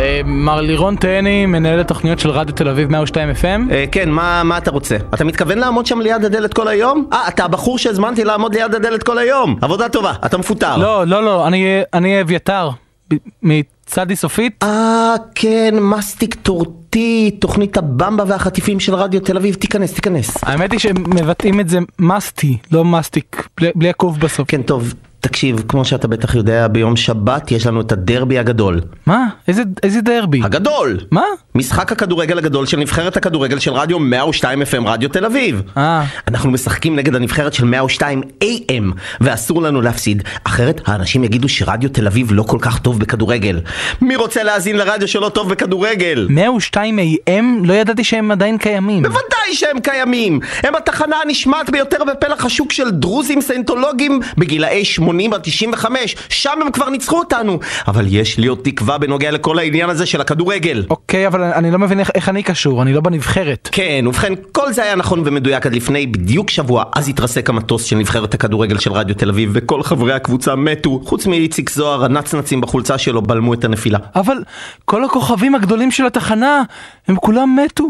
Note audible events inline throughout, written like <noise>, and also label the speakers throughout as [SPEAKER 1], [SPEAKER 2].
[SPEAKER 1] אה, מר לירון טהני, מנהל התוכניות של רדיו תל אביב 102 FM.
[SPEAKER 2] אה, כן, מה, מה אתה רוצה? אתה מתכוון לעמוד שם ליד הדלת כל היום? אה, אתה הבחור שהזמנתי לעמוד ליד הדלת כל היום. עבודה טובה, אתה מפוטר.
[SPEAKER 1] לא, לא, לא, אני- אני אביתר, ב- מצדי סופית.
[SPEAKER 2] אה, כן, מסטיק טורטי, תוכנית הבמבה והחטיפים של רדיו תל אביב, תיכנס, תיכנס.
[SPEAKER 1] האמת היא שמבטאים את זה מסטי, לא מסטיק, בלי- בלי הקוף בסוף.
[SPEAKER 2] כן, טוב, תקשיב, כמו שאתה בטח יודע, ביום שבת יש לנו את הדרבי הגדול.
[SPEAKER 1] מה? איזה- איזה דרבי?
[SPEAKER 2] הגדול!
[SPEAKER 1] מה?
[SPEAKER 2] משחק הכדורגל הגדול של נבחרת הכדורגל של רדיו 102 FM רדיו תל אביב.
[SPEAKER 1] אה.
[SPEAKER 2] אנחנו משחקים נגד הנבחרת של 102 AM, ואסור לנו להפסיד, אחרת האנשים יגידו שרדיו תל אביב לא כל כך טוב בכדורגל. מי רוצה להאזין לרדיו שלא טוב בכדורגל?
[SPEAKER 1] 102 AM? לא ידעתי שהם עדיין קיימים.
[SPEAKER 2] בוודאי שהם קיימים! הם התחנה הנשמעת ביותר בפלח השוק של דרוזים סיינטולוגים בגילאי 80 עד 95, שם הם כבר ניצחו אותנו! אבל יש לי עוד תקווה בנוגע לכל העניין הזה של הכדורגל.
[SPEAKER 1] אוקיי, אבל אני לא מבין איך- איך אני קשור, אני לא בנבחרת.
[SPEAKER 2] כן, ובכן, כל זה היה נכון ומדויק עד לפני בדיוק שבוע, אז התרסק המטוס של נבחרת הכדורגל של רדיו תל אביב, וכל חברי הקבוצה מתו, חוץ מאיציק זוהר, הנצנצים בחולצה שלו בלמו את הנפילה.
[SPEAKER 1] אבל כל הכוכבים הגדולים של התחנה, הם כולם מתו.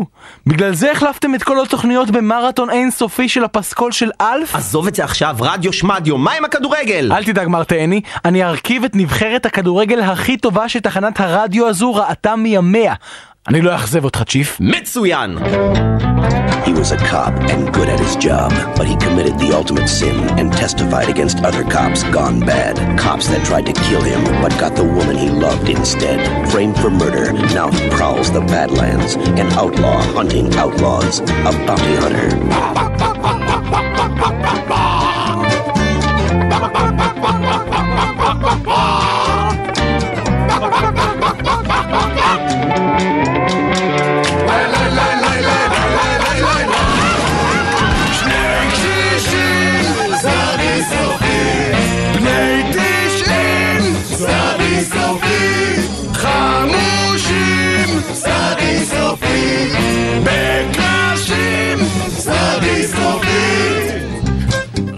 [SPEAKER 1] בגלל זה החלפתם את כל התוכניות במרתון אינסופי של הפסקול של אלף?
[SPEAKER 2] עזוב את זה עכשיו, רדיו שמדיו, מה עם הכדורגל?
[SPEAKER 1] אל תדאג מר תהני, אני ארכיב את נבחרת הכדורגל הכי טובה שתחנת הרדיו הזו ראתה מימיה. אני לא אאכזב אותך צ'יף.
[SPEAKER 2] מצוין!
[SPEAKER 3] He was a cop and good at his job, but he committed the ultimate sin and testified against other cops gone bad. Cops that tried to kill him, but got the woman he loved instead. Framed for murder, now he prowls the Badlands, an outlaw hunting outlaws, a bounty hunter.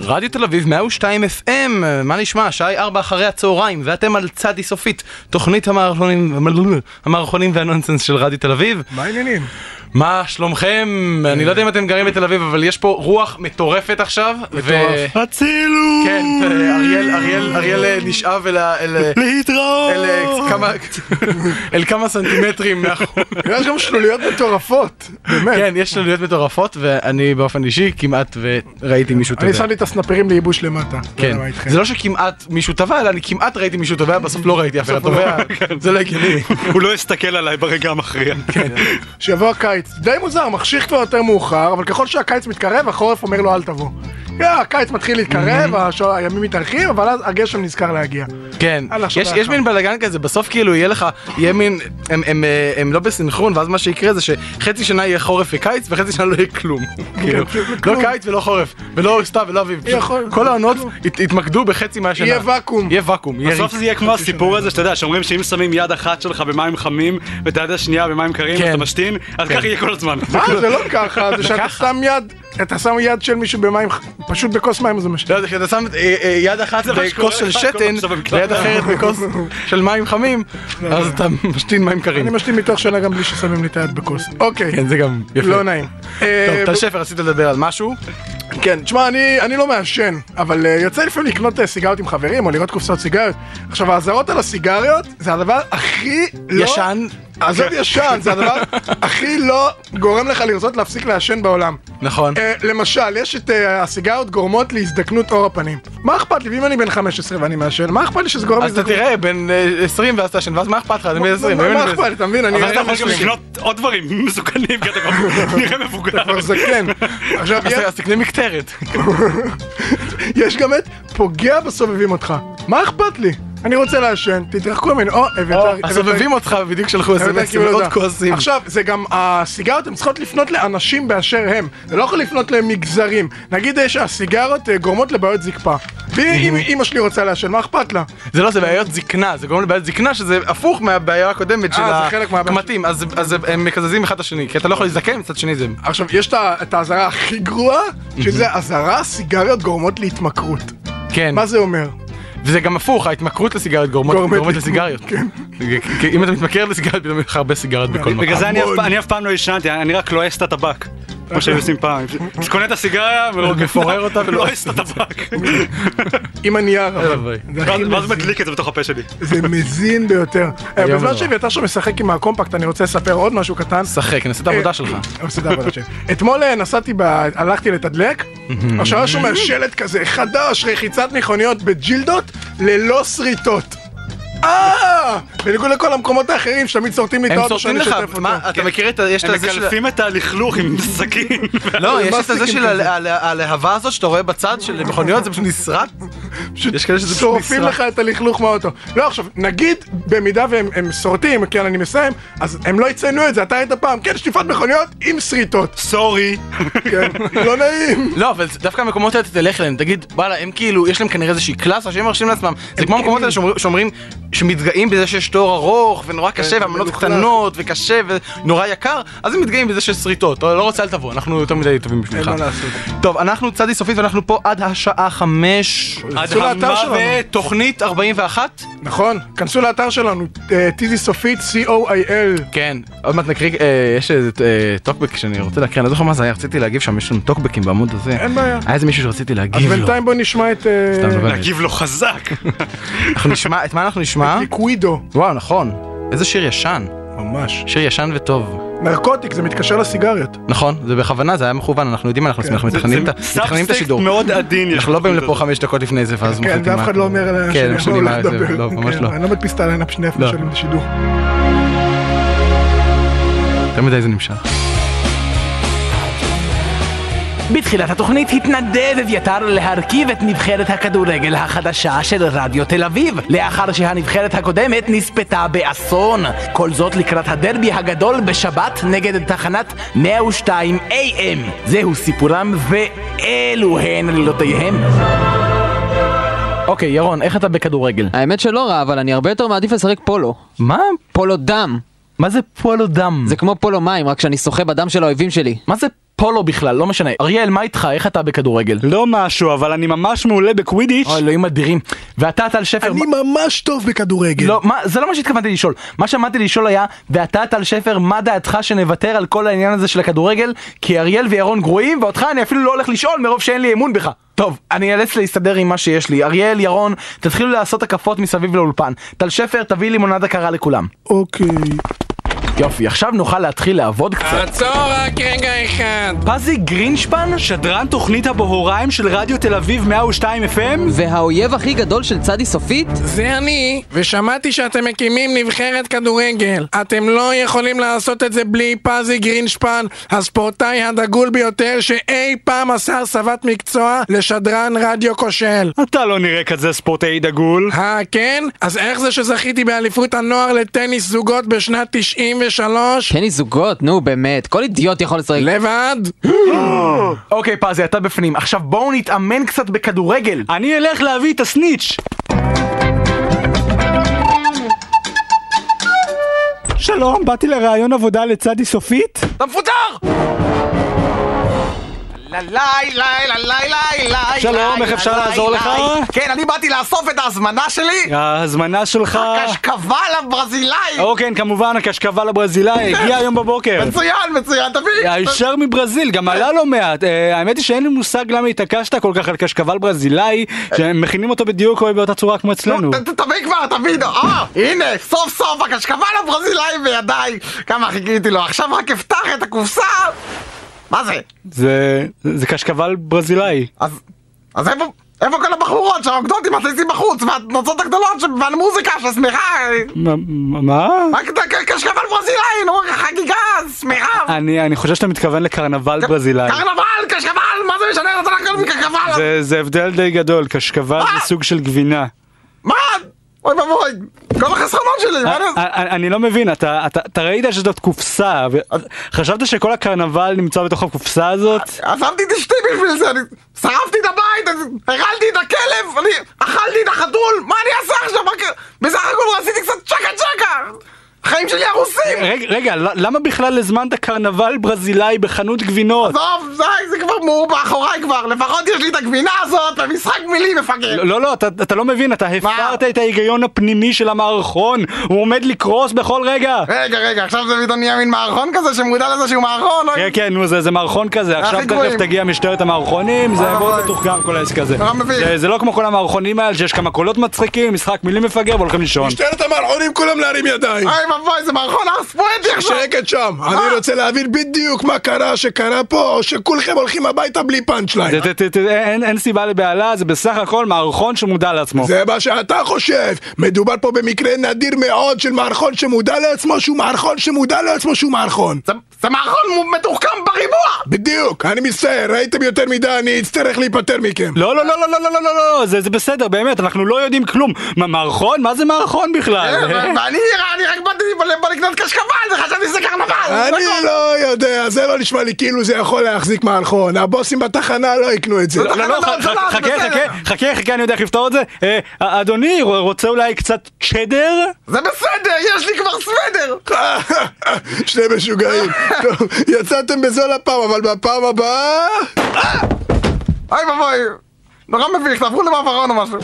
[SPEAKER 1] רדיו תל אביב 102 FM, מה נשמע? שעה היא ארבע אחרי הצהריים, ואתם על צדי סופית, תוכנית המערכונים, המערכונים והנונסנס של רדיו תל אביב.
[SPEAKER 4] מה העניינים?
[SPEAKER 1] מה שלומכם? אני לא יודע אם אתם גרים בתל אביב, אבל יש פה רוח מטורפת עכשיו. מטורף.
[SPEAKER 4] הצילו!
[SPEAKER 1] כן, אריאל, אריאל, אריאל אה, נשאב אל ה... אל, אה,
[SPEAKER 4] להתראות!
[SPEAKER 1] אל, אה, כמה- אל כמה סנטימטרים מאחור.
[SPEAKER 4] יש גם שלוליות מטורפות, באמת.
[SPEAKER 1] כן, יש שלוליות מטורפות, ואני באופן אישי כמעט וראיתי מישהו
[SPEAKER 4] אני
[SPEAKER 1] טובע.
[SPEAKER 4] שמתי את הסנפרים לייבוש למטה. לא יודע
[SPEAKER 1] כן.
[SPEAKER 4] מה איתכם.
[SPEAKER 1] זה לא שכמעט מישהו טבע, אלא אני כמעט ראיתי מישהו טובע, בסוף לא ראיתי אף אחד טובע. זה לא הגיוני.
[SPEAKER 5] <laughs> הוא לא הסתכל עליי
[SPEAKER 1] <laughs>
[SPEAKER 5] ברגע המכריע.
[SPEAKER 4] שיבוא הקיץ. די מוזר, מחשיך כבר יותר מאוחר, אבל ככל שהקיץ מתקרב, החורף אומר לו אל תבוא. יא, הקיץ מתחיל להתקרב, השו- הימים מתארכים, אבל אז הגשם נזכר להגיע.
[SPEAKER 1] כן,
[SPEAKER 4] הלאה,
[SPEAKER 1] יש,
[SPEAKER 4] שומע
[SPEAKER 1] יש
[SPEAKER 4] לך.
[SPEAKER 1] מין בלאגן כזה, בסוף כאילו יהיה לך, יהיה מין, הם, הם, אה, הם לא בסינכרון, ואז מה שיקרה זה שחצי שנה יהיה חורף וקיץ, וחצי שנה לא יהיה כלום. כאילו,
[SPEAKER 4] פשוט לא
[SPEAKER 1] לא
[SPEAKER 4] כלום.
[SPEAKER 1] קיץ ולא חורף, ולא סתיו ולא אביב. פשוט
[SPEAKER 4] יכול-
[SPEAKER 1] כל העונות
[SPEAKER 4] כלום.
[SPEAKER 1] הת- התמקדו בחצי מהשנה.
[SPEAKER 4] יהיה ואקום.
[SPEAKER 1] יהיה ואקום, יהיה
[SPEAKER 5] בסוף
[SPEAKER 1] ריק.
[SPEAKER 5] זה יהיה כמו הסיפור
[SPEAKER 1] לא
[SPEAKER 5] הזה שאתה יודע, שאומרים שאם שמים יד אחת שלך במים חמים ואת היד השנייה במים קרים
[SPEAKER 1] כן.
[SPEAKER 5] ואתה משתין, אז ככה יהיה כל
[SPEAKER 1] <laughs>
[SPEAKER 5] הזמן.
[SPEAKER 1] כאילו-
[SPEAKER 4] מה? זה לא ככה, זה שאתה שם יד, אתה שם יד של מישהו במים, ח- פשוד בכוס מים זה משנה.
[SPEAKER 1] לא, זה כשאתה שם אה, אה, יד אחת
[SPEAKER 5] זה מה שקורה
[SPEAKER 1] בכוס של
[SPEAKER 5] לך כל
[SPEAKER 1] שתן,
[SPEAKER 5] עכשיו במקלחת.
[SPEAKER 1] ויד אחרת בכוס של מים חמים,
[SPEAKER 4] כן.
[SPEAKER 1] אז אתה משתין מים קרים.
[SPEAKER 4] אני משלים מתוך שנה גם בלי ששמים לי את היד בכוס. אוקיי,
[SPEAKER 1] כן, זה גם יפה.
[SPEAKER 4] לא נעים.
[SPEAKER 1] טוב,
[SPEAKER 4] אה,
[SPEAKER 1] טל שפר, רצית לדבר על משהו?
[SPEAKER 4] כן, תשמע, אני, אני לא מעשן, אבל uh, יוצא לפעמים לקנות אה, סיגריות עם חברים, או לראות קופסאות סיגריות. עכשיו, האזהרות על הסיגריות זה הדבר הכי לא...
[SPEAKER 1] ישן.
[SPEAKER 4] עזוב ישן, זה הדבר הכי לא גורם לך לרצות להפסיק לעשן בעולם.
[SPEAKER 1] נכון.
[SPEAKER 4] אה, למשל, יש את אה, הסיגריות גורמות להזדקנות עור הפנים. מה אכפת לי? ואם אני בן 15 ואני מעשן, מה אכפת לי שזה גורם
[SPEAKER 1] אז אתה
[SPEAKER 4] להזדקנות?
[SPEAKER 1] תראה, בין אה, 20 ואז אתה שן, ואז מה אכפת לך? אני בן 20.
[SPEAKER 4] מה-
[SPEAKER 1] אני בן
[SPEAKER 4] מה אכפת? אתה מבין? אני
[SPEAKER 5] אבל אתה
[SPEAKER 4] גם
[SPEAKER 5] יכול גם
[SPEAKER 4] משתמש.
[SPEAKER 5] לקנות עוד דברים <laughs> מסוכנים, כי אתה כבר
[SPEAKER 1] <laughs>
[SPEAKER 5] נראה מבוגר.
[SPEAKER 4] כבר זקן. כן. עכשיו,
[SPEAKER 1] אז-
[SPEAKER 4] יש-
[SPEAKER 1] אז תקנה מקטרת.
[SPEAKER 4] יש גם את פוגע בסובבים אותך. מה אכפת לי? אני רוצה לעשן, תתרחקו ממני. או, אביתר...
[SPEAKER 1] הסובבים אותך בדיוק שלחו
[SPEAKER 4] אביתר
[SPEAKER 1] אסמסים
[SPEAKER 4] קיבל
[SPEAKER 1] מאוד
[SPEAKER 4] הודעה.
[SPEAKER 1] כועסים.
[SPEAKER 4] כאילו, לא. עכשיו, זה גם, הסיגריות, הן צריכות לפנות לאנשים באשר הם. זה לא יכול לפנות למגזרים. נגיד אה, שהסיגריות אה, גורמות לבעיות זקפה. ואם אימא שלי רוצה לעשן, מה אכפת לה?
[SPEAKER 1] זה לא, זה בעיות זקנה, זה גורם לבעיות זקנה שזה הפוך מהבעיה הקודמת של
[SPEAKER 4] אה, זה חלק מהבעיה
[SPEAKER 1] הקמטים, אז אז הם מקזזים אחד את השני, כי אתה לא יכול להזדקן מצד שני זה...
[SPEAKER 4] עכשיו, יש את ה- את האזהרה הכי גרועה, שזה אזהרה, סיגריות גורמות להתמכרות.
[SPEAKER 1] כן.
[SPEAKER 4] מה זה אומר?
[SPEAKER 1] וזה גם הפוך, ההתמכרות לסיגריות גורמת
[SPEAKER 4] גורמת- כן.
[SPEAKER 1] גורמת לסיגריות. כי- כי אם אתה מתמכר לסיגריות, פתאום יש לך הרבה סיגריות בכל מקום.
[SPEAKER 5] בגלל זה אני אף פעם- אני אף פעם לא עישנתי, אני רק לועס את הטבק. כמו שהיו עושים פעם. אז קונה את הסיגריה
[SPEAKER 1] <laughs> מפורר אותה ולא-
[SPEAKER 5] ולועס את הטבק.
[SPEAKER 1] <laughs>
[SPEAKER 4] עם הנייר. אבל.
[SPEAKER 1] אוי.
[SPEAKER 4] זה הכי
[SPEAKER 5] ואז- ואז
[SPEAKER 4] מזין.
[SPEAKER 5] מדליק את זה בתוך הפה שלי.
[SPEAKER 4] זה מזין ביותר.
[SPEAKER 1] <laughs>
[SPEAKER 4] אה,
[SPEAKER 1] נורא.
[SPEAKER 4] בזמן שאביתר שם משחק עם הקומפקט, אני רוצה לספר עוד משהו קטן.
[SPEAKER 1] שחק, נעשה את העבודה שלך.
[SPEAKER 4] אני עושה את העבודה שלי. אתמול אה, נסעתי, ב- הלכתי לתדלק, עכשיו יש שם שלט כזה חדש, רחיצת מכוניות בג'ילדות ללא שריטות. אה! בניגוד לכל המקומות האחרים שתמיד שורטים לי את
[SPEAKER 1] הם
[SPEAKER 4] האוטו
[SPEAKER 1] סורטים
[SPEAKER 4] שאני
[SPEAKER 1] לך,
[SPEAKER 4] שוטף אותו.
[SPEAKER 1] מה, אתה מכיר את ה... יש את
[SPEAKER 5] הם
[SPEAKER 1] הזה של...
[SPEAKER 5] מקלפים את
[SPEAKER 1] <laughs>
[SPEAKER 5] הלכלוך עם סכין.
[SPEAKER 1] לא, יש את
[SPEAKER 4] מסטיקים
[SPEAKER 1] הזה של
[SPEAKER 4] כזה.
[SPEAKER 1] ה- ה- הלהבה הזאת שאתה רואה בצד של מכוניות, זה פשוט נסרט.
[SPEAKER 4] פשוט
[SPEAKER 1] יש כאלה שזה פשוט
[SPEAKER 4] שורפים
[SPEAKER 1] נשרף.
[SPEAKER 4] לך את הלכלוך מהאוטו. לא, עכשיו, נגיד, במידה והם הם סורטים, כן, אני מסיים, אז הם לא יציינו את זה, אתה היית פעם, כן, שטיפת מכוניות עם שריטות.
[SPEAKER 5] סורי.
[SPEAKER 4] כן, לא נעים.
[SPEAKER 1] לא, אבל זה- דווקא המקומות האלה תלך אליהם, תגיד, וואלה, הם כאילו, יש להם כנראה איזושהי קלאסה שהם מרשים לעצמם. זה
[SPEAKER 4] כן
[SPEAKER 1] כמו המקומות האלה שאומרים- שאומרים, שמתגאים בזה שיש תואר ארוך, ונורא קשה, והמנות
[SPEAKER 4] כן, מלוכלך.
[SPEAKER 1] קטנות, וקשה, ונורא יקר, אז הם מתגאים בזה שיש שריטות. לא לא רוצה, אל תבוא, אנחנו יותר מדי טובים בשבילך.
[SPEAKER 4] מה לעשות.
[SPEAKER 1] טוב, אנחנו צדי סופית, ואנחנו פה עד השעה חמש.
[SPEAKER 5] עד
[SPEAKER 4] צאו לאתר שלנו.
[SPEAKER 5] המוות.
[SPEAKER 1] תוכנית 41?
[SPEAKER 4] נכון, כנסו לאתר שלנו, אה, טיזי סופית, co.il.
[SPEAKER 1] כן, עוד מעט נקריא, אה, יש איזה אה, טוקבק שאני רוצה להקריא, אני לא זוכר מה זה היה, רציתי להגיב שם, יש לנו טוקבקים בעמוד הזה.
[SPEAKER 4] אין בעיה.
[SPEAKER 1] היה איזה מישהו שרציתי
[SPEAKER 4] אז
[SPEAKER 1] להגיב לו.
[SPEAKER 4] בינתיים בוא נשמע את... אה,
[SPEAKER 1] לא. סתם מדבר.
[SPEAKER 5] להגיב לו חזק.
[SPEAKER 1] אנחנו נשמע, את מה אנחנו נשמע?
[SPEAKER 4] ליקווידו.
[SPEAKER 1] וואו, נכון. איזה שיר ישן.
[SPEAKER 4] ממש.
[SPEAKER 1] שיר ישן וטוב.
[SPEAKER 4] נרקוטיק, זה מתקשר לסיגריות.
[SPEAKER 1] נכון, זה בכוונה, זה היה מכוון, אנחנו יודעים מה
[SPEAKER 4] כן,
[SPEAKER 1] אנחנו עושים, אנחנו מתכננים את ה- מתכננים את
[SPEAKER 5] סאבסטקט
[SPEAKER 1] השידור.
[SPEAKER 5] מאוד עדין. יש
[SPEAKER 1] אנחנו לא באים
[SPEAKER 5] בתוכנית
[SPEAKER 1] לפה חמש דקות לפני זה, ואז
[SPEAKER 4] כאילו. כן,
[SPEAKER 1] מחליטים
[SPEAKER 4] ואף אחד
[SPEAKER 1] מה-
[SPEAKER 4] לא אומר עליה
[SPEAKER 1] כן,
[SPEAKER 4] שהם
[SPEAKER 1] משנה
[SPEAKER 4] יכולו
[SPEAKER 1] מה זה,
[SPEAKER 4] לדבר.
[SPEAKER 1] לא, ממש
[SPEAKER 4] כן,
[SPEAKER 1] לא.
[SPEAKER 4] אני לא מדפיס את הליינאפ שנייה
[SPEAKER 1] לא.
[SPEAKER 4] לפני שעולים לשידור.
[SPEAKER 1] יותר מדי זה נמשך.
[SPEAKER 6] בתחילת התוכנית התנדב אביתר להרכיב את נבחרת הכדורגל החדשה של רדיו תל אביב, לאחר שהנבחרת הקודמת נספתה באסון. כל זאת לקראת הדרבי הגדול בשבת נגד תחנת 102 AM. זהו סיפורם ואלו הן עלילותיהם.
[SPEAKER 1] אוקיי, ירון, איך אתה בכדורגל?
[SPEAKER 7] האמת שלא רע, אבל אני הרבה יותר מעדיף לשחק פולו.
[SPEAKER 1] מה?
[SPEAKER 7] פולו דם.
[SPEAKER 1] מה זה פולו דם?
[SPEAKER 7] זה כמו פולו מים, רק שאני שוחה בדם של האויבים שלי.
[SPEAKER 1] מה זה פולו בכלל? לא משנה. אריאל, מה איתך? איך אתה בכדורגל?
[SPEAKER 5] לא משהו, אבל אני ממש מעולה בקווידיץ'.
[SPEAKER 1] אוי, אלוהים אדירים. ואתה, טל שפר... מה-
[SPEAKER 4] ממש טוב בכדורגל.
[SPEAKER 1] לא, מה, זה לא מה שהתכוונתי לשאול. מה שעמדתי לשאול היה, ואתה, טל שפר, מה דעתך שנוותר על כל העניין הזה של הכדורגל? כי אריאל וירון גרועים, ואותך אני אפילו לא הולך לשאול מרוב שאין לי אמון בך. טוב, אני אאלץ להסתדר עם מה שיש לי. אריאל, ירון, תתחילו לעשות הקפות מסביב לאולפן. טל שפר, תביא לימונדה קרה לכולם.
[SPEAKER 4] אוקיי.
[SPEAKER 1] יופי, עכשיו נוכל להתחיל לעבוד קצת.
[SPEAKER 8] עצור רק רגע אחד.
[SPEAKER 1] פזי גרינשפן?
[SPEAKER 5] שדרן תוכנית הבהוריים של רדיו תל אביב 102 FM?
[SPEAKER 7] והאויב הכי גדול של צדי סופית?
[SPEAKER 8] זה אני, ושמעתי שאתם מקימים נבחרת כדורגל. אתם לא יכולים לעשות את זה בלי פזי גרינשפן, הספורטאי הדגול ביותר שאי פעם עשה הסבת מקצוע לשדרן רדיו כושל.
[SPEAKER 5] אתה לא נראה כזה ספורטאי דגול.
[SPEAKER 8] אה, כן? אז איך זה שזכיתי באליפות הנוער לטניס זוגות בשנת 93?
[SPEAKER 7] טניס זוגות, נו באמת, כל אידיוט יכול לשחק.
[SPEAKER 8] לבד?
[SPEAKER 1] אוקיי, פזי, אתה בפנים. עכשיו בואו נתאמן קצת בכדורגל.
[SPEAKER 5] אני אלך להביא את הסניץ'. שלום, באתי לראיון עבודה לצדי סופית?
[SPEAKER 1] אתה מפוטר!
[SPEAKER 5] שלום, איך אפשר לעזור לך?
[SPEAKER 1] כן, אני באתי לאסוף את ההזמנה שלי!
[SPEAKER 5] ההזמנה שלך...
[SPEAKER 1] קשקבל הברזילאי!
[SPEAKER 5] או כן, כמובן, הקשקבל הברזילאי הגיע היום בבוקר.
[SPEAKER 1] מצוין, מצוין, תביא!
[SPEAKER 5] הישר מברזיל, גם עלה לא מעט. אה, האמת היא שאין לי מושג למה התעקשת כל כך על קשקבל ברזילאי, שמכינים אותו בדיוק או באותה צורה כמו אצלנו.
[SPEAKER 1] ת- ת- תביא כבר, תביא, נו. אה, הנה, סוף סוף הקשקבל הברזילאי בידיי! כמה חיכיתי לו, עכשיו רק אפתח את הקופסה! מה זה?
[SPEAKER 5] זה זה קשקבל ברזילאי.
[SPEAKER 1] אז... אז איפה... איפה כל הבחורות שהרוקדות עם הציצים בחוץ, והנוצות הגדולות, ש- והמוזיקה ששמחה,
[SPEAKER 5] מה- מה?
[SPEAKER 1] רק ת- קשקבל ברזילאי, נו, חגיגה, שמחה,
[SPEAKER 5] אני אני חושב שאתה מתכוון לקרנבל ברזילאי.
[SPEAKER 1] קרנבל, קשקבל, מה זה משנה? רוצה לקרוא לי קשקבל?
[SPEAKER 5] זה- זה הבדל די גדול, קשקבל זה סוג של גבינה.
[SPEAKER 1] מה? אוי ואבוי, כל החסכונות שלי, מה
[SPEAKER 5] א-
[SPEAKER 1] אני...
[SPEAKER 5] א- אני לא מבין, אתה אתה- אתה ראית שזאת קופסה, ו- חשבת שכל הקרנבל נמצא בתוך הקופסה הזאת?
[SPEAKER 1] עזבתי את אשתי בשביל זה, אני שרפתי את הבית, אני הרעלתי את הכלב, אני אכלתי את החתול, מה אני אעשה עכשיו? מה קרה? בסך הכל רציתי קצת צ'קה צ'קה! החיים שלי הרוסים!
[SPEAKER 5] רגע, רגע, ל- למה בכלל הזמנת קרנבל ברזילאי בחנות גבינות?
[SPEAKER 1] עזוב, די, זה כבר
[SPEAKER 9] הוא מאחוריי כבר, לפחות יש לי את הגבינה הזאת במשחק מילים מפגר.
[SPEAKER 5] לא, לא, אתה, אתה לא מבין, אתה הפרת את ההיגיון הפנימי של המערכון, הוא עומד לקרוס בכל רגע.
[SPEAKER 9] רגע, רגע, עכשיו זה פתאום נהיה מין מערכון כזה שמודע לזה שהוא מערכון, אוי,
[SPEAKER 5] כן, כן, נו, זה, זה מערכון כזה, עכשיו
[SPEAKER 9] גרועים.
[SPEAKER 5] תכף תגיע משטרת המערכונים, זה מאוד מתוחכם כל העסק הזה.
[SPEAKER 9] נורא מביך.
[SPEAKER 5] זה- זה לא כמו כל המערכונים האלה, שיש כמה קולות מצחיקים, משחק מילים מפגר והולכים לישון.
[SPEAKER 8] משטרת המערכונים כולם להרים ידיים.
[SPEAKER 9] אוי ואבוי, זה מערכון ארס פואטי עכשיו.
[SPEAKER 8] שקט שם. אני רוצה להבין בדיוק מה קרה שקרה פה, או שכולכם הולכים הביתה בלי פאנצ'ליין.
[SPEAKER 5] זה- ת- ת- ת- אין אין סיבה לבהלה, זה בסך הכל מערכון שמודע לעצמו.
[SPEAKER 8] זה מה שאתה חושב. מדובר פה במקרה נדיר מאוד של מערכון שמודע לעצמו שהוא מערכון שמודע לעצמו שהוא מערכון.
[SPEAKER 9] זה- זה מערכון מתוחכם בריבוע!
[SPEAKER 8] בדיוק, אני מצטער, ראיתם יותר מדי, אני אצטרך להיפטר מכם.
[SPEAKER 5] לא, לא, לא, לא, לא, לא, לא, לא, לא, זה זה בסדר, באמת, אנחנו לא יודעים כלום. מה, מערכון? מה זה מערכון בכלל?
[SPEAKER 9] ואני אני רק באתי לבוא לקנות קשקבל, חשבתי שזה קרנבל!
[SPEAKER 8] אני לא יודע, זה לא נשמע לי כאילו זה יכול להחזיק מערכון. נכון, הבוסים בתחנה לא יקנו את זה.
[SPEAKER 5] לא, לא, ח-
[SPEAKER 9] לא,
[SPEAKER 5] ח-
[SPEAKER 9] זה
[SPEAKER 5] חכה,
[SPEAKER 9] בסדר.
[SPEAKER 5] חכה, חכה, חכה, אני יודע איך לפתור את זה. אה, אדוני, ר- רוצה אולי קצת צ'דר?
[SPEAKER 9] זה בסדר, יש לי כבר סוודר!
[SPEAKER 8] <laughs> שני משוגעים.
[SPEAKER 9] <laughs>
[SPEAKER 8] טוב, יצאתם בזול הפעם, אבל בפעם הבאה...
[SPEAKER 9] אה! אוי ואבוי, נורא מביך, תעברו למעברון או משהו.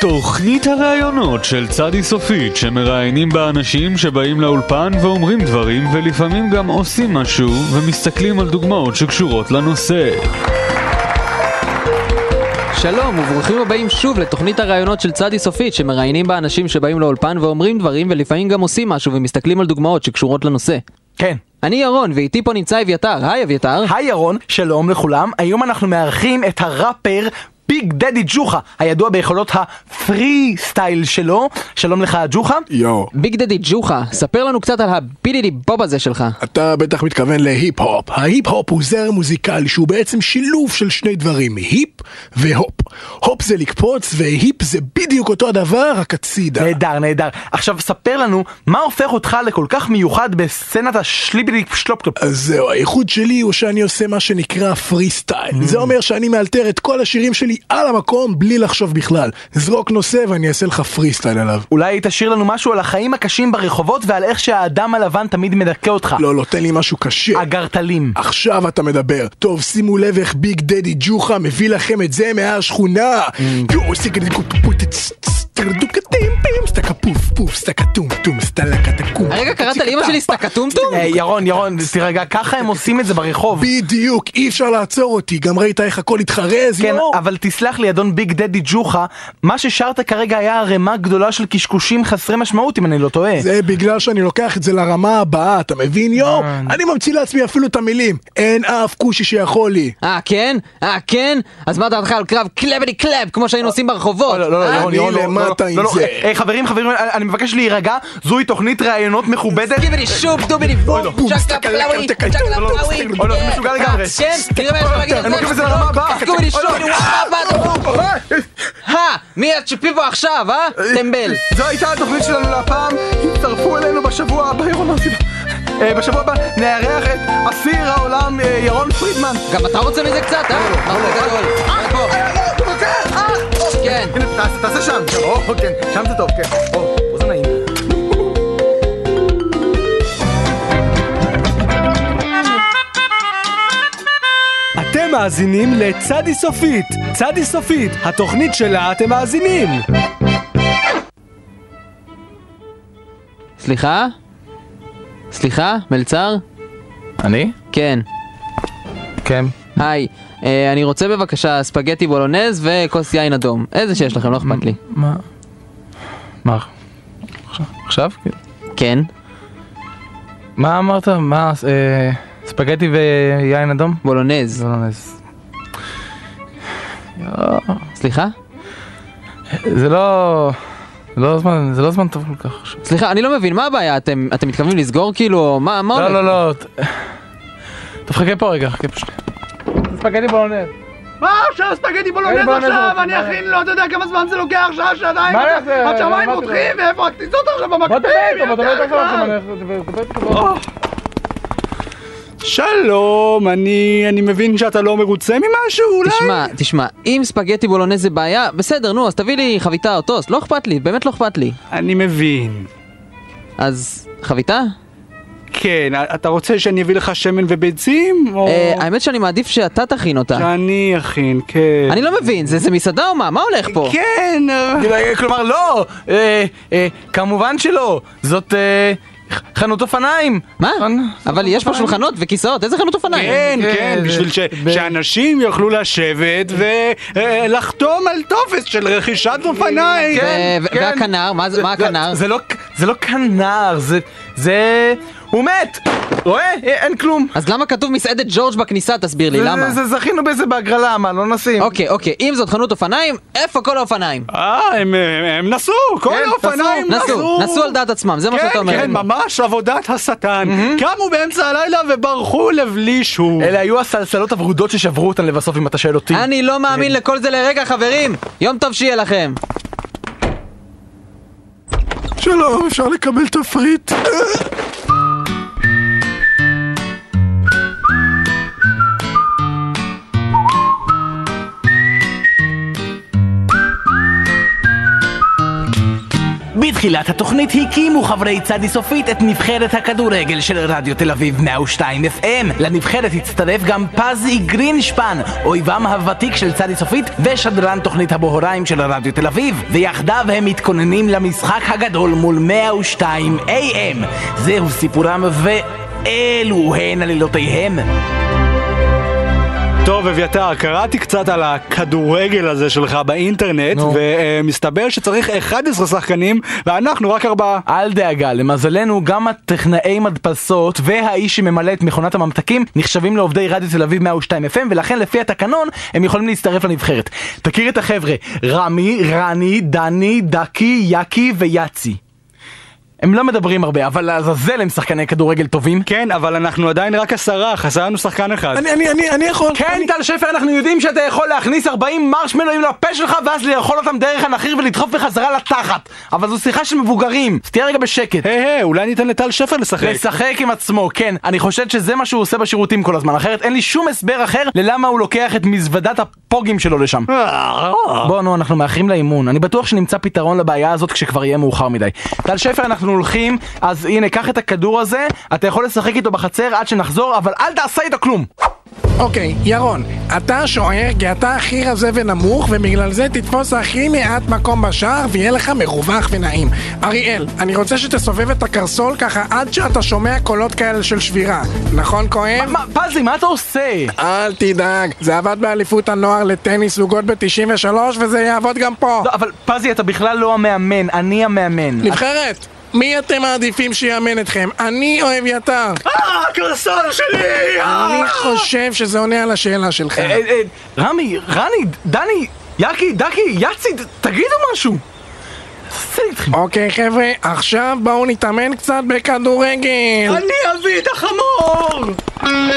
[SPEAKER 10] תוכנית הראיונות של צדי סופית, שמראיינים בה אנשים שבאים לאולפן ואומרים דברים ולפעמים גם עושים משהו ומסתכלים על דוגמאות שקשורות לנושא.
[SPEAKER 7] שלום וברוכים הבאים שוב לתוכנית הראיונות של צדי סופית שמראיינים בה אנשים שבאים לאולפן ואומרים דברים ולפעמים גם עושים משהו ומסתכלים על דוגמאות שקשורות לנושא.
[SPEAKER 1] כן.
[SPEAKER 7] אני ירון ואיתי פה נמצא אביתר, היי אביתר.
[SPEAKER 1] היי ירון, שלום לכולם, היום אנחנו מארחים את הראפר ביג דדי ג'וחה, הידוע ביכולות הפרי סטייל שלו, שלום לך ג'וחה.
[SPEAKER 8] יואו,
[SPEAKER 7] ביג דדי ג'וחה, ספר לנו קצת על הבידידי בוב הזה שלך.
[SPEAKER 8] אתה בטח מתכוון להיפ-הופ. ההיפ-הופ הוא זרם מוזיקלי שהוא בעצם שילוב של שני דברים, היפ והופ. הופ זה לקפוץ והיפ זה בדיוק אותו הדבר, רק הצידה.
[SPEAKER 1] נהדר, נהדר. עכשיו ספר לנו, מה הופך אותך לכל כך מיוחד בסצנת השליבידי שלופקלופ?
[SPEAKER 8] אז זהו, הייחוד שלי הוא שאני עושה מה שנקרא פרי סטייל. זה אומר שאני מאלתר את כל השירים שלי על המקום בלי לחשוב בכלל. זרוק נושא ואני אעשה לך פרי סטייל עליו.
[SPEAKER 1] אולי תשאיר לנו משהו על החיים הקשים ברחובות ועל איך שהאדם הלבן תמיד מדכא אותך.
[SPEAKER 8] לא, לא, תן לי משהו קשה.
[SPEAKER 1] הגרטלים.
[SPEAKER 8] עכשיו אתה מדבר. טוב, שימו לב איך ביג דדי ג'וחה מביא לכם את זה מהשכונה. יואו, סיגרדים קופוטטס. טרדוקטים פים, סטקה פוף פוף, סטקה טום טום, סטלקה תקום.
[SPEAKER 7] הרגע קראת לאמא שלי סטקטומטום?
[SPEAKER 1] אה, ירון, ירון, תירגע, ככה הם עושים את זה ברחוב.
[SPEAKER 8] בדיוק, אי אפשר לעצור אותי, גם ראית איך הכל התחרז,
[SPEAKER 1] כן,
[SPEAKER 8] יואו.
[SPEAKER 1] אבל תסלח לי, אדון ביג דדי ג'וחה, מה ששרת כרגע היה ערימה גדולה של קשקושים חסרי משמעות, אם אני לא טועה.
[SPEAKER 8] זה בגלל שאני לוקח את זה לרמה הבאה, אתה מבין? יואו, אני ממציא לעצמי אפילו את המילים. אין אף כושי שיכול לי.
[SPEAKER 7] אה כן? אה כן? אז מה דעתך על קרב קלבדי קלאב כמו שהיינו עושים ברחובות?
[SPEAKER 1] לא, לא, לא,
[SPEAKER 7] אה?
[SPEAKER 1] ירון,
[SPEAKER 8] אני
[SPEAKER 1] ירון, לא, לא,
[SPEAKER 8] למטה
[SPEAKER 1] לא,
[SPEAKER 8] עם
[SPEAKER 1] לא, לא,
[SPEAKER 8] זה.
[SPEAKER 1] אה, אה, חברים, חברים, אני אני מבקש להירגע, זוהי תוכנית ראיונות מכובדת.
[SPEAKER 7] גיבלי שוב דובילי בום, צ'קה פלאווי, צ'קה פלאווי,
[SPEAKER 1] אוי, לא, זה משוגע לגמרי.
[SPEAKER 7] כן, תראה מה יש לו להגיד על
[SPEAKER 1] הם לוקחים את זה לרמה הבאה.
[SPEAKER 7] גובילי שוב,
[SPEAKER 1] אוי, לא.
[SPEAKER 7] וואו,
[SPEAKER 1] אה,
[SPEAKER 7] הא, מי הצ'יפיבו עכשיו, אה? טמבל.
[SPEAKER 1] זו הייתה התוכנית שלנו להפעם, הצטרפו אלינו בשבוע הבא, ירון אמרתי לו. אה, בשבוע הבא נארח את אסיר העולם אה, ירון פרידמן.
[SPEAKER 7] גם אתה רוצה מזה קצת, אה? בחור גדול. אה, פה. כן.
[SPEAKER 1] הנה, תעשה- תעשה שם. או, כן, שם זה טוב, כן. או, פה זה נעים.
[SPEAKER 5] אתם מאזינים לצדי סופית. צדי סופית, התוכנית שלה אתם מאזינים.
[SPEAKER 7] סליחה? סליחה? מלצר?
[SPEAKER 1] אני?
[SPEAKER 7] כן.
[SPEAKER 1] כן.
[SPEAKER 7] היי, אה, אני רוצה בבקשה ספגטי בולונז וכוס יין אדום. איזה שיש
[SPEAKER 1] Mm.
[SPEAKER 7] לכם, לא אכפת לי.
[SPEAKER 1] מה? מה? עכשיו?
[SPEAKER 7] כן.
[SPEAKER 1] מה אמרת? מה? אה, ספגטי ויין אדום?
[SPEAKER 7] בולונז.
[SPEAKER 1] זה לא נס.
[SPEAKER 7] סליחה?
[SPEAKER 1] זה לא... זה לא זמן, זה לא זמן טוב כל כך עכשיו.
[SPEAKER 7] סליחה, אני לא מבין, מה הבעיה? אתם אתם מתכוונים לסגור כאילו? מה מה
[SPEAKER 1] לא,
[SPEAKER 7] הולך?
[SPEAKER 1] לא, לא. ת- טוב, חכה פה רגע, חכה פה שנייה. ספגטי בולונז. מה עכשיו ספגטי בולונז עכשיו? אני אכין לו, אתה יודע כמה זמן זה לוקח? שעה, שעתיים? עד שהמים רותחים ואיפה הכניסות עכשיו במקפיא? בוא תדבר איתו, בוא תדבר איתו.
[SPEAKER 5] שלום, אני אני מבין שאתה לא מרוצה ממשהו, אולי?
[SPEAKER 7] תשמע, תשמע, אם ספגטי בולונז זה בעיה, בסדר, נו, אז תביא לי חביתה או טוסט, לא אכפת לי, באמת לא אכפת לי.
[SPEAKER 5] אני מבין.
[SPEAKER 7] אז חביתה?
[SPEAKER 5] כן, אתה רוצה שאני אביא לך שמן וביצים? או
[SPEAKER 7] אה, האמת שאני מעדיף שאתה תכין אותה.
[SPEAKER 5] שאני אכין, כן.
[SPEAKER 7] אני לא מבין, זה זה מסעדה או מה? מה הולך פה?
[SPEAKER 5] כן, אה,
[SPEAKER 1] כלומר לא, אה, אה, כמובן שלא, זאת אה, ח- חנות אופניים.
[SPEAKER 7] מה?
[SPEAKER 1] נכון?
[SPEAKER 7] אבל יש פה שולחנות וכיסאות, איזה חנות אופניים?
[SPEAKER 5] כן, כן,
[SPEAKER 1] זה-
[SPEAKER 5] בשביל ש-
[SPEAKER 1] ב-
[SPEAKER 5] שאנשים יוכלו לשבת ולחתום על טופס של רכישת אופניים.
[SPEAKER 7] ו- ו-
[SPEAKER 1] כן.
[SPEAKER 7] והכנר, מה זה- מה
[SPEAKER 1] לא,
[SPEAKER 7] הכנר?
[SPEAKER 1] זה לא- זה לא כנר, זה... זה... הוא מת! רואה? אה, אין כלום.
[SPEAKER 7] אז למה כתוב מסעדת ג'ורג' בכניסה? תסביר לי,
[SPEAKER 1] זה-
[SPEAKER 7] למה?
[SPEAKER 1] זה- זכינו בזה בהגרלה, מה, לא נשים.
[SPEAKER 7] אוקיי, אוקיי, אם זאת חנות אופניים, איפה כל האופניים?
[SPEAKER 5] אה, הם- הם הם נסעו, כל
[SPEAKER 1] כן,
[SPEAKER 5] האופניים
[SPEAKER 7] נסעו,
[SPEAKER 5] נסעו.
[SPEAKER 7] נסעו על דעת עצמם, זה מה שאתה
[SPEAKER 5] כן,
[SPEAKER 7] אומר.
[SPEAKER 5] כן, ממש עבודת השטן. קמו באמצע הלילה וברחו לבלי שוב.
[SPEAKER 1] אלה היו הסלסלות הוורודות ששברו אותן לבסוף, אם אתה שואל אותי.
[SPEAKER 7] אני לא מאמין לכל זה לרגע, חברים! יום טוב שיהיה לכם!
[SPEAKER 4] שלום, אפשר לקבל תפריט?
[SPEAKER 6] בתחילת התוכנית הקימו חברי צדי סופית את נבחרת הכדורגל של רדיו תל אביב 102 FM. לנבחרת הצטרף גם פזי גרינשפן, אויבם הוותיק של צדי סופית ושדרן תוכנית הבוהריים של רדיו תל אביב, ויחדיו הם מתכוננים למשחק הגדול מול 102 AM. זהו סיפורם ואלו הן עלילותיהם.
[SPEAKER 5] טוב, אביתר, קראתי קצת על הכדורגל הזה שלך באינטרנט, ומסתבר שצריך 11 שחקנים, ואנחנו רק ארבעה.
[SPEAKER 1] אל דאגה, למזלנו גם הטכנאי מדפסות והאיש שממלא את מכונת הממתקים נחשבים לעובדי רדיו תל אביב 102 FM ולכן לפי התקנון הם יכולים להצטרף לנבחרת. תכיר את החבר'ה, רמי, רני, דני, דקי, יקי ויאצי. הם לא מדברים הרבה, אבל לעזאזל הם שחקני כדורגל טובים.
[SPEAKER 5] כן, אבל אנחנו עדיין רק עשרה, חסר לנו שחקן אחד.
[SPEAKER 4] אני, אני, אני, אני יכול.
[SPEAKER 1] כן, טל שפר, אנחנו יודעים שאתה יכול להכניס 40 מרשמלואים לפה שלך ואז לאכול אותם דרך הנחיר ולדחוף בחזרה לתחת. אבל זו שיחה של מבוגרים, אז תהיה רגע בשקט.
[SPEAKER 5] היי היי, אולי ניתן לטל שפר לשחק.
[SPEAKER 1] לשחק עם עצמו, כן. אני חושד שזה מה שהוא עושה בשירותים כל הזמן, אחרת אין לי שום הסבר אחר ללמה הוא לוקח את מזוודת הפוגים שלו לשם.
[SPEAKER 5] אה,
[SPEAKER 1] בוא נו, אנחנו מאחרים לאימון. אני בטוח שנמצא פתרון לבעיה הזאת כשכבר יהיה מאוחר מדי. טל שפר, אנחנו הולכים, אז הנה, קח את הכדור הזה, אתה יכול לשחק איתו בחצר עד שנחזור, אבל אל תעשה איתו כלום.
[SPEAKER 8] אוקיי, ירון, אתה שוער כי אתה הכי רזה ונמוך ובגלל זה תתפוס הכי מעט מקום בשער ויהיה לך מרווח ונעים. אריאל, אני רוצה שתסובב את הקרסול ככה עד שאתה שומע קולות כאלה של שבירה. נכון כואב?
[SPEAKER 1] מה, פזי, מה אתה עושה?
[SPEAKER 8] אל תדאג, זה עבד באליפות הנוער לטניס זוגות ב-93 וזה יעבוד גם פה.
[SPEAKER 1] לא, אבל פזי, אתה בכלל לא המאמן, אני המאמן.
[SPEAKER 5] אה,
[SPEAKER 8] נבחרת, מי אתם מעדיפים שיאמן אתכם? אני או אביתר?
[SPEAKER 5] אה, הקרסול שלי!
[SPEAKER 8] אני חושב שזה עונה על השאלה שלך.
[SPEAKER 1] אה, אה, רמי, רני, דני, יקי, דקי, יאצי, ת- תגידו משהו. עושה איתכם.
[SPEAKER 6] אה,
[SPEAKER 8] אוקיי חבר'ה, עכשיו בואו נתאמן קצת בכדורגל.
[SPEAKER 5] אני אביא את החמור!
[SPEAKER 4] 102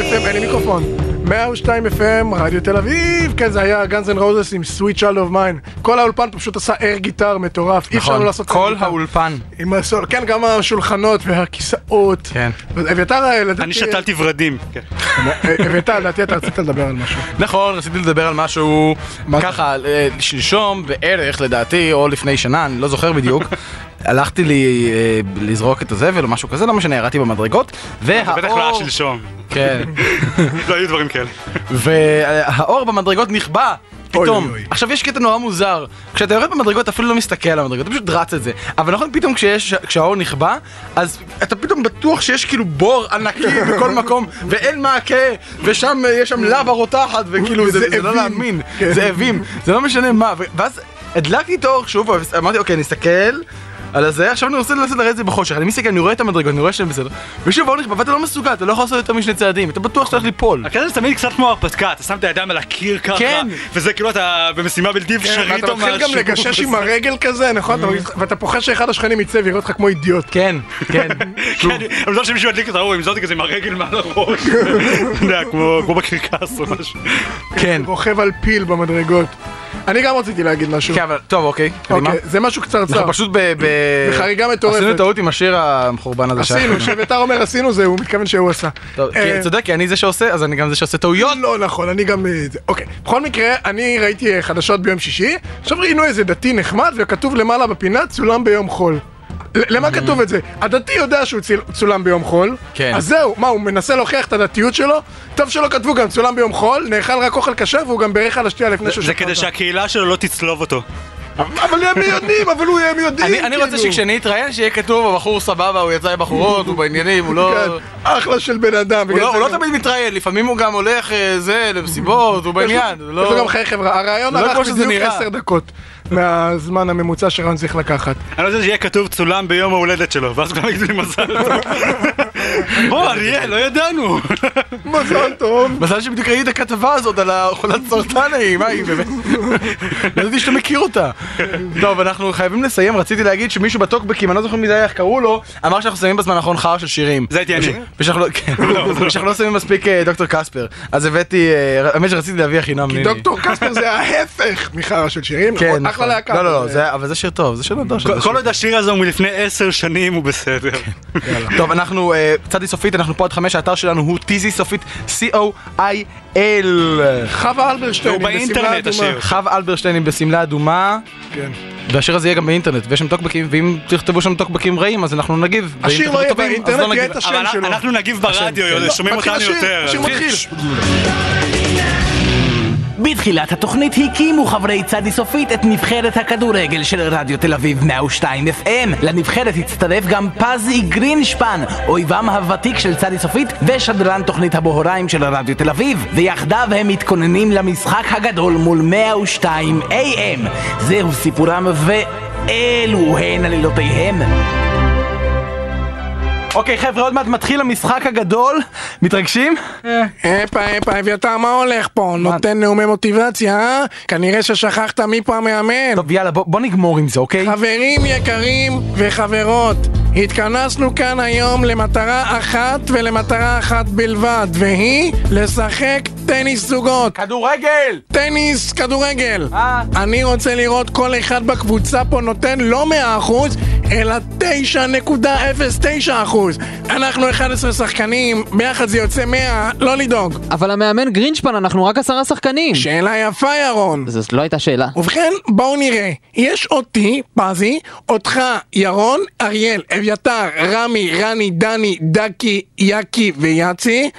[SPEAKER 4] FM, אין לי מיקרופון. 102 FM, רדיו תל אביב, כן זה היה גאנז אנד רוזס עם סוויט שלד אוף מיין. כל האולפן פה פשוט עשה אר גיטר מטורף, אי
[SPEAKER 5] נכון.
[SPEAKER 4] אפשר לא לעשות air
[SPEAKER 1] כל
[SPEAKER 4] גיטר.
[SPEAKER 1] האולפן.
[SPEAKER 4] עם הסול, כן גם השולחנות והכיסאות.
[SPEAKER 1] כן.
[SPEAKER 4] אביתר, אה, לדעתי... אה,
[SPEAKER 5] אני שתלתי ורדים. כן.
[SPEAKER 4] אביתר, לדעתי אתה רצית לדבר על משהו.
[SPEAKER 6] נכון, רציתי לדבר על משהו
[SPEAKER 4] מה זה?
[SPEAKER 6] ככה, אה, שלשום בערך לדעתי, או לפני שנה, אני לא זוכר
[SPEAKER 1] <laughs>
[SPEAKER 6] בדיוק. הלכתי לי אה, לזרוק את הזבל או משהו כזה, לא משנה, ירדתי במדרגות,
[SPEAKER 1] אה,
[SPEAKER 6] והאור...
[SPEAKER 5] בטח לא היה שלשום.
[SPEAKER 6] כן.
[SPEAKER 5] לא היו דברים כאלה.
[SPEAKER 6] והאור במדרגות נכבה. פתאום.
[SPEAKER 4] אוי, אוי.
[SPEAKER 6] עכשיו יש קטע נורא מוזר, כשאתה יורד במדרגות אתה אפילו לא מסתכל על המדרגות, אתה פשוט רץ את זה. אבל נכון, פתאום כשיש, כשהאור נכבה, אז אתה פתאום בטוח שיש כאילו בור <laughs> ענקי בכל מקום, ואין מעקה, ושם אה, יש שם לבה רותחת, וכאילו זה, זה, לא להאמין,
[SPEAKER 4] זאבים.
[SPEAKER 6] זאבים, <laughs> זה לא משנה מה, ו- ואז הדלקתי את האור שוב, אמרתי אוקיי נסתכל. על זה, עכשיו אני רוצה לנסות לרדת את זה בחושך, אני מסתכל, אני רואה את המדרגות, אני רואה שהם בסדר, ושוב האור נכבה, ואתה לא מסוגל, אתה לא יכול לעשות יותר משני צעדים, אתה בטוח שאתה הולך ליפול.
[SPEAKER 5] הקטע זה תמיד קצת כמו הרפתקה, אתה שם את הידיים על הקיר ככה,
[SPEAKER 6] כן.
[SPEAKER 5] וזה כאילו אתה במשימה בלתי אפשרית
[SPEAKER 4] אתה
[SPEAKER 5] או משהו.
[SPEAKER 4] כן,
[SPEAKER 5] Mm.
[SPEAKER 4] מתחיל גם לגשש
[SPEAKER 11] <laughs>
[SPEAKER 4] עם הרגל כזה, נכון? אתה מרגיש- ואתה פוחד שאחד השכנים יצא ויראה אותך כמו אידיוט.
[SPEAKER 1] כן, כן.
[SPEAKER 5] כן, אבל לא שמישהו ידליק את האור, אם זאת כזה עם הרגל מעל <laughs> הראש. אתה יודע, כמו כמו בקרקס או משהו.
[SPEAKER 1] כן.
[SPEAKER 4] רוכב על פיל במדרגות. אני גם רציתי להגיד משהו.
[SPEAKER 1] כן, אבל, לא טוב, אוקיי, קדימה.
[SPEAKER 4] אוקיי, זה משהו קצרצר.
[SPEAKER 1] אנחנו פשוט ב... ב-
[SPEAKER 4] בחריגה מטורפת.
[SPEAKER 1] עשינו טעות עם השיר המחורבן הזה.
[SPEAKER 4] עשינו,
[SPEAKER 1] שאנחנו-
[SPEAKER 4] כשביתר אומר עשינו זה, הוא מתכוון שהוא עשה.
[SPEAKER 1] טוב, כי
[SPEAKER 4] אה,
[SPEAKER 1] צודק, כי אני זה שעושה, אז אני גם זה שעושה טעויות.
[SPEAKER 4] לא נכון, אני גם... אה, זה. אוקיי. בכל מקרה, אני ראיתי אה, חדשות ביום שישי, עכשיו ראינו איזה דתי נחמד, וכתוב למעלה בפינה צולם ביום חול. ל- למה כתוב את זה? הדתי יודע שהוא צל- צולם ביום חול,
[SPEAKER 1] כן.
[SPEAKER 4] אז זהו, מה, הוא מנסה להוכיח את הדתיות שלו? טוב שלא כתבו גם צולם ביום חול, נאכל רק אוכל כשר והוא גם בירך על השתייה לפני שהוא
[SPEAKER 11] זה
[SPEAKER 4] שתה
[SPEAKER 11] כדי
[SPEAKER 4] אותה.
[SPEAKER 11] שהקהילה שלו לא תצלוב אותו.
[SPEAKER 4] אבל הם יודעים, אבל הוא הם יודעים,
[SPEAKER 1] אני אני רוצה
[SPEAKER 4] כאילו.
[SPEAKER 1] שכשאני אתראיין שיהיה כתוב הבחור סבבה, הוא יצא עם בחורות, הוא בעניינים, הוא לא...
[SPEAKER 4] כן, אחלה של בן אדם.
[SPEAKER 1] הוא
[SPEAKER 4] בגלל
[SPEAKER 1] לא-
[SPEAKER 4] זה
[SPEAKER 1] הוא לא
[SPEAKER 4] גם-
[SPEAKER 1] תמיד מתראיין, לפעמים הוא גם הולך אה, זה, למסיבות, הוא בעניין. הוא
[SPEAKER 4] יש לו
[SPEAKER 1] לא-
[SPEAKER 4] גם חיי חברה, הרעיון
[SPEAKER 1] לא כמו
[SPEAKER 4] לקח
[SPEAKER 1] שזה
[SPEAKER 4] בדיוק
[SPEAKER 1] נראה.
[SPEAKER 4] עשר דקות מהזמן הממוצע שרעיון צריך לקחת.
[SPEAKER 11] אני רוצה שיהיה כתוב צולם ביום ההולדת שלו, ואז כולם יגידו לי מזל.
[SPEAKER 4] <laughs>
[SPEAKER 11] או, אריה, לא ידענו.
[SPEAKER 4] מזל טוב.
[SPEAKER 1] מזל שבדיוק ראיתי את הכתבה הזאת על החולת סרטן ההיא, מה היא באמת? לא ידעתי שאתה מכיר אותה. טוב, אנחנו חייבים לסיים, רציתי להגיד שמישהו בטוקבקים, אני לא זוכר מי זה היה, איך קראו לו, אמר שאנחנו שמים בזמן האחרון חרא של שירים.
[SPEAKER 11] זה הייתי אני.
[SPEAKER 1] ושאנחנו לא- כן. ושאנחנו לא שמים מספיק אה, דוקטור קספר. אז הבאתי, אה, האמת שרציתי להביא החינם.
[SPEAKER 4] כי
[SPEAKER 1] ניני.
[SPEAKER 4] דוקטור קספר זה ההפך מחרא של שירים,
[SPEAKER 1] כן,
[SPEAKER 4] נכון? אחלה
[SPEAKER 1] נכון.
[SPEAKER 4] להקה.
[SPEAKER 1] לא, לא, לא, זה- אבל זה שיר טוב, זה שיר נדוש. זה שיר-
[SPEAKER 11] כל עוד השיר הזה הוא מלפני עשר שנים, הוא בסדר.
[SPEAKER 4] כן.
[SPEAKER 1] טוב, אנחנו אה, צדי סופית, אנחנו פה עד חמש, האתר שלנו הוא טיזי סופית, co.il.
[SPEAKER 4] חווה
[SPEAKER 11] הוא
[SPEAKER 4] אלברשטיין, עם
[SPEAKER 11] באינטרנט,
[SPEAKER 4] בשמלה אדומה.
[SPEAKER 11] השיר.
[SPEAKER 1] חב אלברשטיין עם בשמלה אדומה.
[SPEAKER 4] כן.
[SPEAKER 1] והשיר הזה יהיה גם באינטרנט, ויש שם טוקבקים, ואם תכתבו שם טוקבקים רעים, אז אנחנו נגיב. ואם
[SPEAKER 4] השיר
[SPEAKER 1] תכתבו
[SPEAKER 4] לא יהיה
[SPEAKER 1] טובים, אז
[SPEAKER 4] באינטרנט, יהיה
[SPEAKER 1] נגיב.
[SPEAKER 4] את השם
[SPEAKER 11] אבל
[SPEAKER 4] שלו.
[SPEAKER 11] אנחנו נגיב ברדיו, יוליה, שומעים
[SPEAKER 4] מתחיל
[SPEAKER 11] אותנו
[SPEAKER 4] השיר,
[SPEAKER 11] יותר. כן.
[SPEAKER 4] השיר מתחיל.
[SPEAKER 6] בתחילת התוכנית הקימו חברי צדי סופית את נבחרת הכדורגל של רדיו תל אביב 102 FM. לנבחרת הצטרף גם פזי גרינשפן, אויבם הוותיק של צדי סופית ושדרן תוכנית הבוהריים של רדיו תל אביב, ויחדיו הם מתכוננים למשחק הגדול מול 102 AM. זהו סיפורם ואלו הן עלילותיהם.
[SPEAKER 1] אוקיי, חבר'ה, עוד מעט מתחיל המשחק הגדול. מתרגשים?
[SPEAKER 8] הפה, הפה, אביתר, מה הולך פה? נותן נאומי מוטיבציה, אה? כנראה ששכחת מי פה המאמן.
[SPEAKER 1] טוב, יאללה, בוא בוא נגמור עם זה, אוקיי?
[SPEAKER 8] חברים יקרים וחברות, התכנסנו כאן היום למטרה אחת ולמטרה אחת בלבד, והיא לשחק טניס זוגות.
[SPEAKER 1] כדורגל!
[SPEAKER 8] טניס, כדורגל.
[SPEAKER 1] אה.
[SPEAKER 8] אני רוצה לראות כל אחד בקבוצה פה נותן לא 100% אלא 9.09%. אנחנו 11 שחקנים, ביחד זה יוצא 100, לא לדאוג.
[SPEAKER 7] אבל המאמן גרינשפן, אנחנו רק עשרה שחקנים.
[SPEAKER 8] שאלה יפה ירון.
[SPEAKER 7] זאת לא הייתה שאלה.
[SPEAKER 8] ובכן, בואו נראה. יש אותי, פזי, אותך, ירון, אריאל, אביתר, רמי, רני, דני, דקי, יקי ויאצי.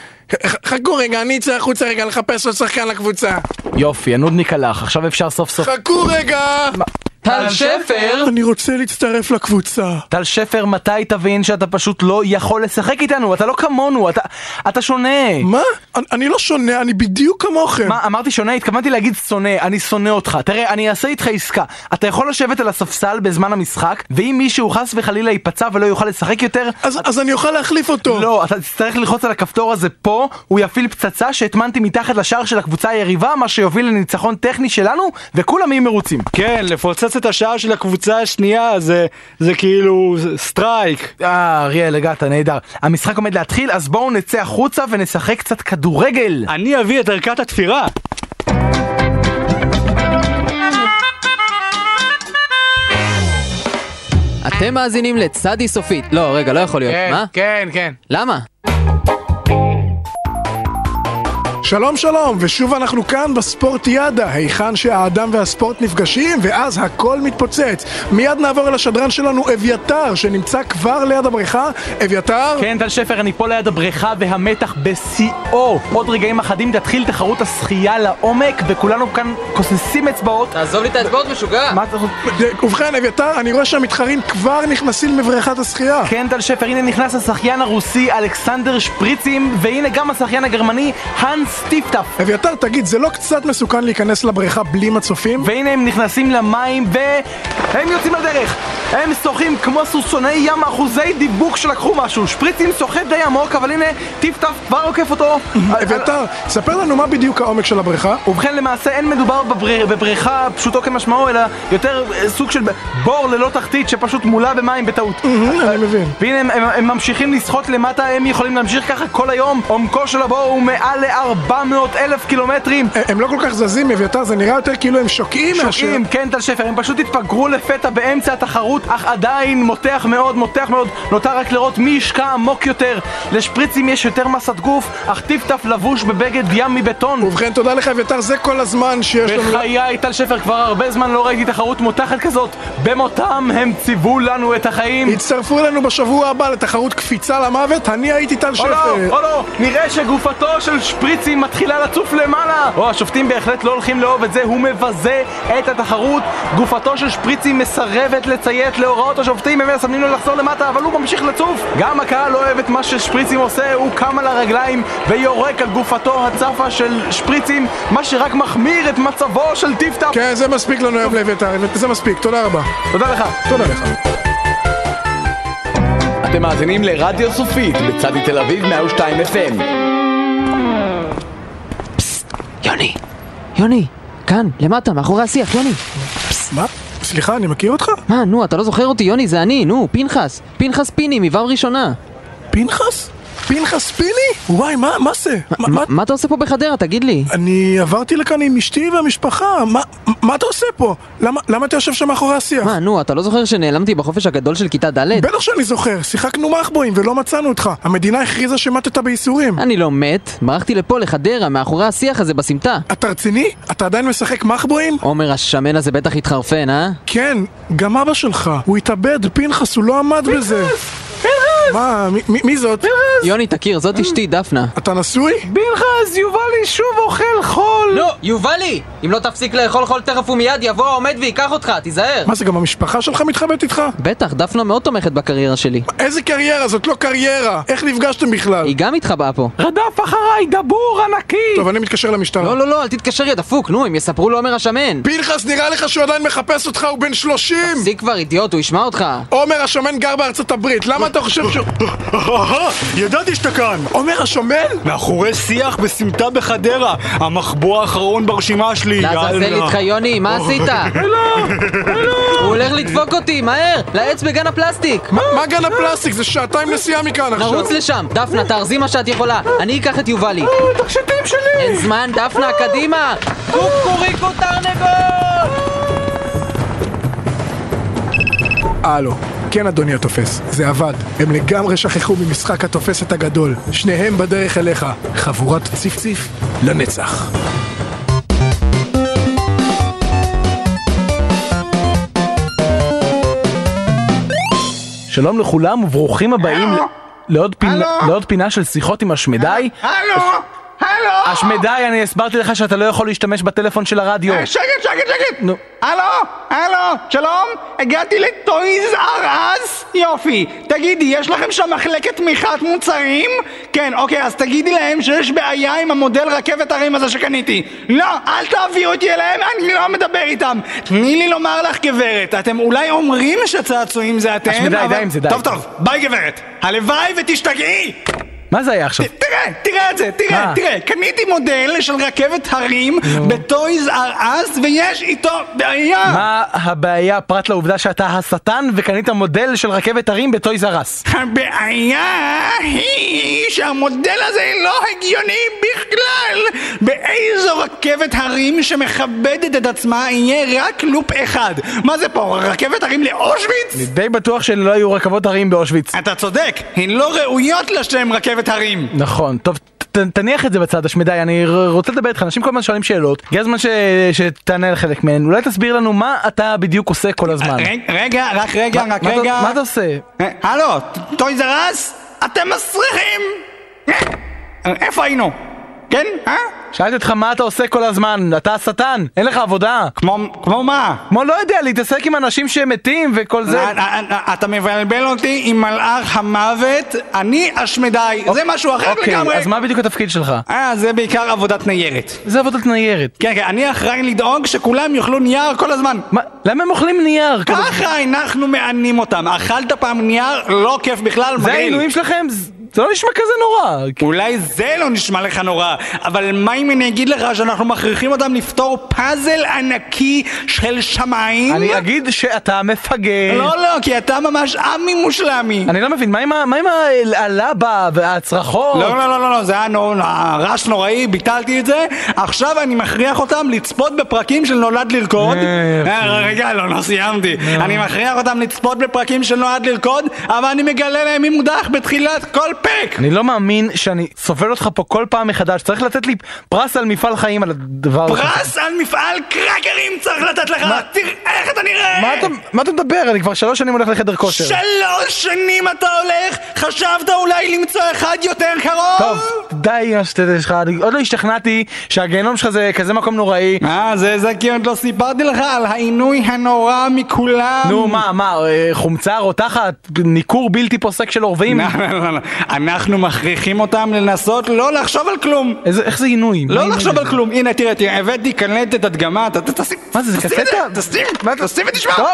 [SPEAKER 8] ח- חכו רגע, אני אצא החוצה רגע לחפש עוד שחקן לקבוצה.
[SPEAKER 1] יופי, הנודניק הלך, עכשיו אפשר סוף סוף.
[SPEAKER 8] חכו רגע!
[SPEAKER 7] טל שפר!
[SPEAKER 8] אני רוצה להצטרף לקבוצה.
[SPEAKER 1] טל שפר, מתי תבין שאתה פשוט לא יכול לשחק איתנו? אתה לא כמונו, אתה- אתה שונה.
[SPEAKER 8] מה? אני- אני לא שונה, אני בדיוק כמוכם.
[SPEAKER 1] מה, אמרתי שונה? התכוונתי להגיד שונא, אני שונא אותך. תראה, אני אעשה איתך עסקה. אתה יכול לשבת על הספסל בזמן המשחק, ואם מישהו חס וחלילה ייפצע ולא יוכל לשחק יותר,
[SPEAKER 8] אז אז אני אוכל להחליף אותו.
[SPEAKER 1] לא, אתה תצטרך ללחוץ על הכפתור הזה פה, הוא יפעיל פצצה שהטמנתי מתחת לשער של הקבוצה היריבה, מה שיוביל לניצחון טכני שלנו, וכולם יהיו מרוצים.
[SPEAKER 5] כן, לפוצץ את השער של הקבוצה השנייה זה זה כאילו סטרייק.
[SPEAKER 1] אה, אריאל, הגעת, נהדר. המשחק עומד להתחיל, אז בואו נצא החוצה ונשחק קצת כדורגל.
[SPEAKER 5] אני אביא את ערכת התפירה.
[SPEAKER 7] אתם מאזינים לצדי סופית. לא, רגע, לא יכול להיות. מה?
[SPEAKER 1] כן,
[SPEAKER 5] <laughs>
[SPEAKER 1] כן.
[SPEAKER 7] למה?
[SPEAKER 8] שלום שלום, ושוב אנחנו כאן בספורטיאדה, היכן שהאדם והספורט נפגשים, ואז הכל מתפוצץ. מיד נעבור אל השדרן שלנו, אביתר, שנמצא כבר ליד הבריכה. אביתר?
[SPEAKER 1] כן, טל שפר, אני פה ליד הבריכה והמתח בשיאו. עוד רגעים אחדים תתחיל תחרות השחייה לעומק, וכולנו כאן כוססים אצבעות.
[SPEAKER 7] תעזוב לי את האצבעות, משוגע!
[SPEAKER 1] מה אתה חושב?
[SPEAKER 8] ד- ובכן, אביתר, אני רואה שהמתחרים כבר נכנסים לבריכת השחייה.
[SPEAKER 1] כן, טל שפר, הנה נכנס השחיין הרוסי אלכסנדר שפריצים, והנה גם השחיין הגרמני האנס טיפטף.
[SPEAKER 8] אביתר, תגיד, זה לא קצת מסוכן להיכנס לבריכה בלי מצופים?
[SPEAKER 1] והנה הם נכנסים למים והם יוצאים לדרך הם שוחים כמו סוסוני ים אחוזי דיבוק שלקחו משהו שפריצים שוחה די עמוק אבל הנה טיפ-טף כבר עוקף אותו
[SPEAKER 8] אה, אביתר, ספר לנו מה בדיוק העומק של הבריכה.
[SPEAKER 1] ובכן למעשה אין מדובר בבר... בבריכה פשוטו כמשמעו אלא יותר אה, סוג של בור ללא תחתית שפשוט מולא במים בטעות
[SPEAKER 11] אוקיי.
[SPEAKER 8] אני מבין.
[SPEAKER 1] והנה הם, הם, הם ממשיכים לשחות למטה הם יכולים להמשיך ככה כל היום עומקו של הבור הוא מעל ל-4 400 אלף קילומטרים.
[SPEAKER 4] הם לא כל כך זזים, אביתר, זה נראה יותר כאילו הם שוקעים מאשר...
[SPEAKER 1] שוקעים, כן טל שפר, הם פשוט התפגרו לפתע באמצע התחרות, אך עדיין מותח מאוד, מותח מאוד, נותר רק לראות מי ישקע עמוק יותר. לשפריצים יש יותר מסת גוף, אך טיפטף לבוש בבגד ים מבטון.
[SPEAKER 4] ובכן, תודה לך, אביתר, זה כל הזמן שיש לנו...
[SPEAKER 1] בחיי, טל שפר, כבר הרבה זמן לא ראיתי תחרות מותחת כזאת. במותם הם ציוו לנו את החיים.
[SPEAKER 4] הצטרפו אלינו בשבוע הבא לתחרות קפיצה למוות, אני הייתי טל
[SPEAKER 1] או לא,
[SPEAKER 4] שפר.
[SPEAKER 1] או לא, נראה שגופתו של שפריצים מתחילה לצוף למעלה. או, השופטים בהחלט לא הולכים לאהוב את זה, הוא מבזה את התחרות. גופתו של שפריצים מסרבת לציית להוראות השופטים, הם מסמנים לו לחזור למטה, אבל הוא ממשיך לצוף. גם הקהל לא אוהב את מה ששפריצים עושה, הוא קם על הרגליים ויורק על גופתו הצפה של שפריצים, מה שרק מחמיר את מצבו של טיפטאפ.
[SPEAKER 4] כן, זה מספיק לנו היום לאביתר, זה מספיק, תודה רבה.
[SPEAKER 1] תודה לך.
[SPEAKER 4] תודה לך.
[SPEAKER 2] אתם מאזינים לרדיו סופית בצדי תל אביב 102 FM.
[SPEAKER 7] יוני, יוני, כאן, למטה, מאחורי השיח, יוני.
[SPEAKER 4] מה? סליחה, אני מכיר אותך?
[SPEAKER 7] מה, נו, אתה לא זוכר אותי, יוני, זה אני, נו, פנחס. פנחס פיני, מו"ב ראשונה.
[SPEAKER 4] פנחס? פנחס פיני? וואי, מה, מה זה? מה- מה-
[SPEAKER 7] מה- מה אתה עושה פה בחדרה, תגיד לי?
[SPEAKER 4] אני עברתי לכאן עם אשתי והמשפחה, מה- מה אתה עושה פה? למה- למה אתה יושב שם מאחורי השיח?
[SPEAKER 7] מה, נו, אתה לא זוכר שנעלמתי בחופש הגדול של כיתה ד'?
[SPEAKER 4] בטח שאני זוכר, שיחקנו מחבואים ולא מצאנו אותך. המדינה הכריזה שמטת בייסורים.
[SPEAKER 7] אני לא מת, ברחתי לפה, לחדרה, מאחורי השיח הזה בסמטה.
[SPEAKER 4] אתה רציני? אתה עדיין משחק מחבואים?
[SPEAKER 7] עומר השמן הזה בטח התחרפן, אה?
[SPEAKER 4] כן, גם אבא שלך. הוא התאבד, פנחס, הוא לא עמד בזה. מה, מי- מי- מי זאת?
[SPEAKER 7] יוני, תכיר, זאת אשתי, דפנה.
[SPEAKER 4] אתה נשוי?
[SPEAKER 1] פנחס, יובלי שוב אוכל חול!
[SPEAKER 7] לא, יובלי! אם לא תפסיק לאכול חול תכף ומיד, יבוא העומד וייקח אותך, תיזהר!
[SPEAKER 4] מה זה, גם המשפחה שלך מתחבאת איתך?
[SPEAKER 7] בטח, דפנה מאוד תומכת בקריירה שלי.
[SPEAKER 4] איזה קריירה? זאת לא קריירה. איך נפגשתם בכלל?
[SPEAKER 7] היא גם התחבאה פה.
[SPEAKER 4] אה?
[SPEAKER 1] רדף אחריי דבור ענקי!
[SPEAKER 4] טוב, אני מתקשר למשטרה.
[SPEAKER 7] לא, לא, לא, אל תתקשר, יא דפוק, נו, הם יספרו לעומר השמן!
[SPEAKER 4] פנחס, נראה לך שהוא עדיין מחפש אותך, הוא בן 30!
[SPEAKER 7] תפסיק כבר, אידיוט, הוא ישמע אותך.
[SPEAKER 4] עומר השמן גר בארצות הברית, למה אתה חושב שהוא...
[SPEAKER 8] אהה, ידעתי שאתה כאן!
[SPEAKER 4] עומר השמן?
[SPEAKER 8] מאחורי שיח בסמטה בחדרה, המחבוא האחרון ברשימה שלי,
[SPEAKER 7] לעזאזל
[SPEAKER 8] יאללה.
[SPEAKER 7] איתך, יוני, מה עשית? הוא הולך לדפוק אותי, מהר! לעץ בגן הפלסטיק!
[SPEAKER 4] מה גן הפלסטיק? זה שעתיים נסיעה מכאן עכשיו.
[SPEAKER 7] נרוץ לשם! דפנה, תארזי מה שאת יכולה! אני אקח את יובלי! תכשיטים שלי! אין זמן, דפנה, קדימה! קוקוריקו תרנגול!
[SPEAKER 4] הלו. כן, אדוני התופס, זה עבד. הם לגמרי שכחו ממשחק התופסת הגדול. שניהם בדרך אליך. חבורת ציפציף לנצח.
[SPEAKER 1] שלום לכולם וברוכים הבאים ל- לעוד, פינה, לעוד פינה של שיחות עם השמדי.
[SPEAKER 5] הלו, הלו,
[SPEAKER 1] השמדי, אני הסברתי לך שאתה לא יכול להשתמש בטלפון של הרדיו.
[SPEAKER 5] אה, שקט, שקט, שקט.
[SPEAKER 1] נו.
[SPEAKER 5] הלו, הלו, שלום, הגעתי לטויז אר אס? יופי. תגידי, יש לכם שם מחלקת תמיכת מוצרים? כן, אוקיי, אז תגידי להם שיש בעיה עם המודל רכבת הרים הזה שקניתי. לא, אל תעבירו אותי אליהם, אני לא מדבר איתם. תני לי לומר לך, גברת, אתם אולי אומרים שצעצועים זה אתם,
[SPEAKER 1] השמדה, די עם זה, די.
[SPEAKER 5] טוב, טוב, ביי, גברת. הלוואי ותשתגעי!
[SPEAKER 1] מה זה היה עכשיו?
[SPEAKER 5] תראה, תראה את זה, תראה,
[SPEAKER 1] מה?
[SPEAKER 5] תראה, קניתי מודל של רכבת הרים בטויז אר אס ויש איתו בעיה!
[SPEAKER 1] מה הבעיה פרט לעובדה שאתה השטן וקנית מודל של רכבת הרים בטויז אר אס?
[SPEAKER 5] הבעיה היא שהמודל הזה לא הגיוני בכלל! באיזו רכבת הרים שמכבדת את עצמה יהיה רק לופ אחד? מה זה פה, רכבת הרים לאושוויץ?
[SPEAKER 1] די בטוח שלא היו רכבות הרים באושוויץ.
[SPEAKER 5] אתה צודק, הן לא ראויות לשם רכבת הרים!
[SPEAKER 1] נכון, טוב. ת- תניח את זה בצד השמדי, אני ר- רוצה לדבר איתך, אנשים כל הזמן שואלים שאלות, הגיע הזמן ש- שתענה לחלק מהן, אולי תסביר לנו מה אתה בדיוק עושה כל הזמן.
[SPEAKER 5] רג- רגע, רק רגע,
[SPEAKER 1] מה-
[SPEAKER 5] רק
[SPEAKER 1] מה אתה-
[SPEAKER 5] רגע.
[SPEAKER 1] מה אתה עושה?
[SPEAKER 5] אה, הלו, טויז אר אס? אתם מסריחים! אה, איפה היינו? כן? אה?
[SPEAKER 1] שאלתי אותך מה אתה עושה כל הזמן, אתה השטן, אין לך עבודה.
[SPEAKER 5] כמו, כמו מה?
[SPEAKER 1] כמו לא יודע, להתעסק עם אנשים שמתים וכל זה.
[SPEAKER 5] אה, אה, אה, אתה מבלבל אותי עם מלאך המוות, אני השמדי, זה משהו אחר
[SPEAKER 1] אוקיי,
[SPEAKER 5] לא לגמרי.
[SPEAKER 1] אז מה בדיוק התפקיד שלך?
[SPEAKER 5] אה, זה בעיקר עבודת ניירת.
[SPEAKER 1] זה עבודת ניירת.
[SPEAKER 5] כן, כן, אני אחראי לדאוג שכולם יאכלו נייר כל הזמן.
[SPEAKER 1] מה, למה הם אוכלים נייר? כל הזמן?
[SPEAKER 5] ככה אנחנו מענים אותם. אכלת פעם נייר? לא כיף בכלל,
[SPEAKER 1] זה
[SPEAKER 5] מגעיל.
[SPEAKER 1] העינויים שלכם? ז- זה לא נשמע כזה נורא.
[SPEAKER 5] אולי זה לא נשמע לך נורא, אבל מה אם אני אגיד לך שאנחנו מכריחים אותם לפתור פאזל ענקי של שמיים?
[SPEAKER 1] אני אגיד שאתה מפגר.
[SPEAKER 5] לא, לא, כי אתה ממש עמי מושלמי.
[SPEAKER 1] אני לא מבין, מה עם ה- מה עם ה- הלבה והצרחות?
[SPEAKER 5] לא, לא, לא, לא, לא, זה היה נור- רעש נוראי, ביטלתי את זה. עכשיו אני מכריח אותם לצפות בפרקים של נולד לרקוד. אה, רגע, לא, לא סיימתי.
[SPEAKER 1] אה.
[SPEAKER 5] אני מכריח אותם לצפות בפרקים של נולד לרקוד, אבל אני מגלה להם מי מודח בתחילת כל פרק.
[SPEAKER 1] אני לא מאמין שאני סובל אותך פה כל פעם מחדש, צריך לתת לי פרס על מפעל חיים על הדבר הזה.
[SPEAKER 5] פרס על מפעל קרקרים צריך לתת לך! תראה איך אתה נראה!
[SPEAKER 1] מה אתה- מה אתה מדבר? אני כבר שלוש שנים הולך לחדר כושר.
[SPEAKER 5] שלוש שנים אתה הולך? חשבת אולי למצוא אחד יותר קרוב?
[SPEAKER 1] טוב, די עם השטויות שלך, אני עוד לא השתכנעתי שהגיהנום שלך זה כזה מקום נוראי.
[SPEAKER 5] אה, זה זה כי עוד לא סיפרתי לך על העינוי הנורא מכולם.
[SPEAKER 1] נו, מה, מה, אה, חומצה רותחת, ניכור בלתי פוסק של עורבים?
[SPEAKER 5] <laughs> לא, לא, לא, לא. אנחנו מכריחים אותם לנסות לא לחשוב על כלום.
[SPEAKER 1] איזה- איך זה עינוי? מה
[SPEAKER 5] לא
[SPEAKER 1] עינוי
[SPEAKER 5] לחשוב
[SPEAKER 1] זה?
[SPEAKER 5] על כלום. הנה, תראה, תראה, הבאתי קלטת הדגמה, ת- ת- תשים...
[SPEAKER 1] מה זה, זה
[SPEAKER 5] תשים את
[SPEAKER 1] קסטה?
[SPEAKER 5] תשים,
[SPEAKER 1] מה אתה-
[SPEAKER 5] תשים ותשמע.
[SPEAKER 1] טוב,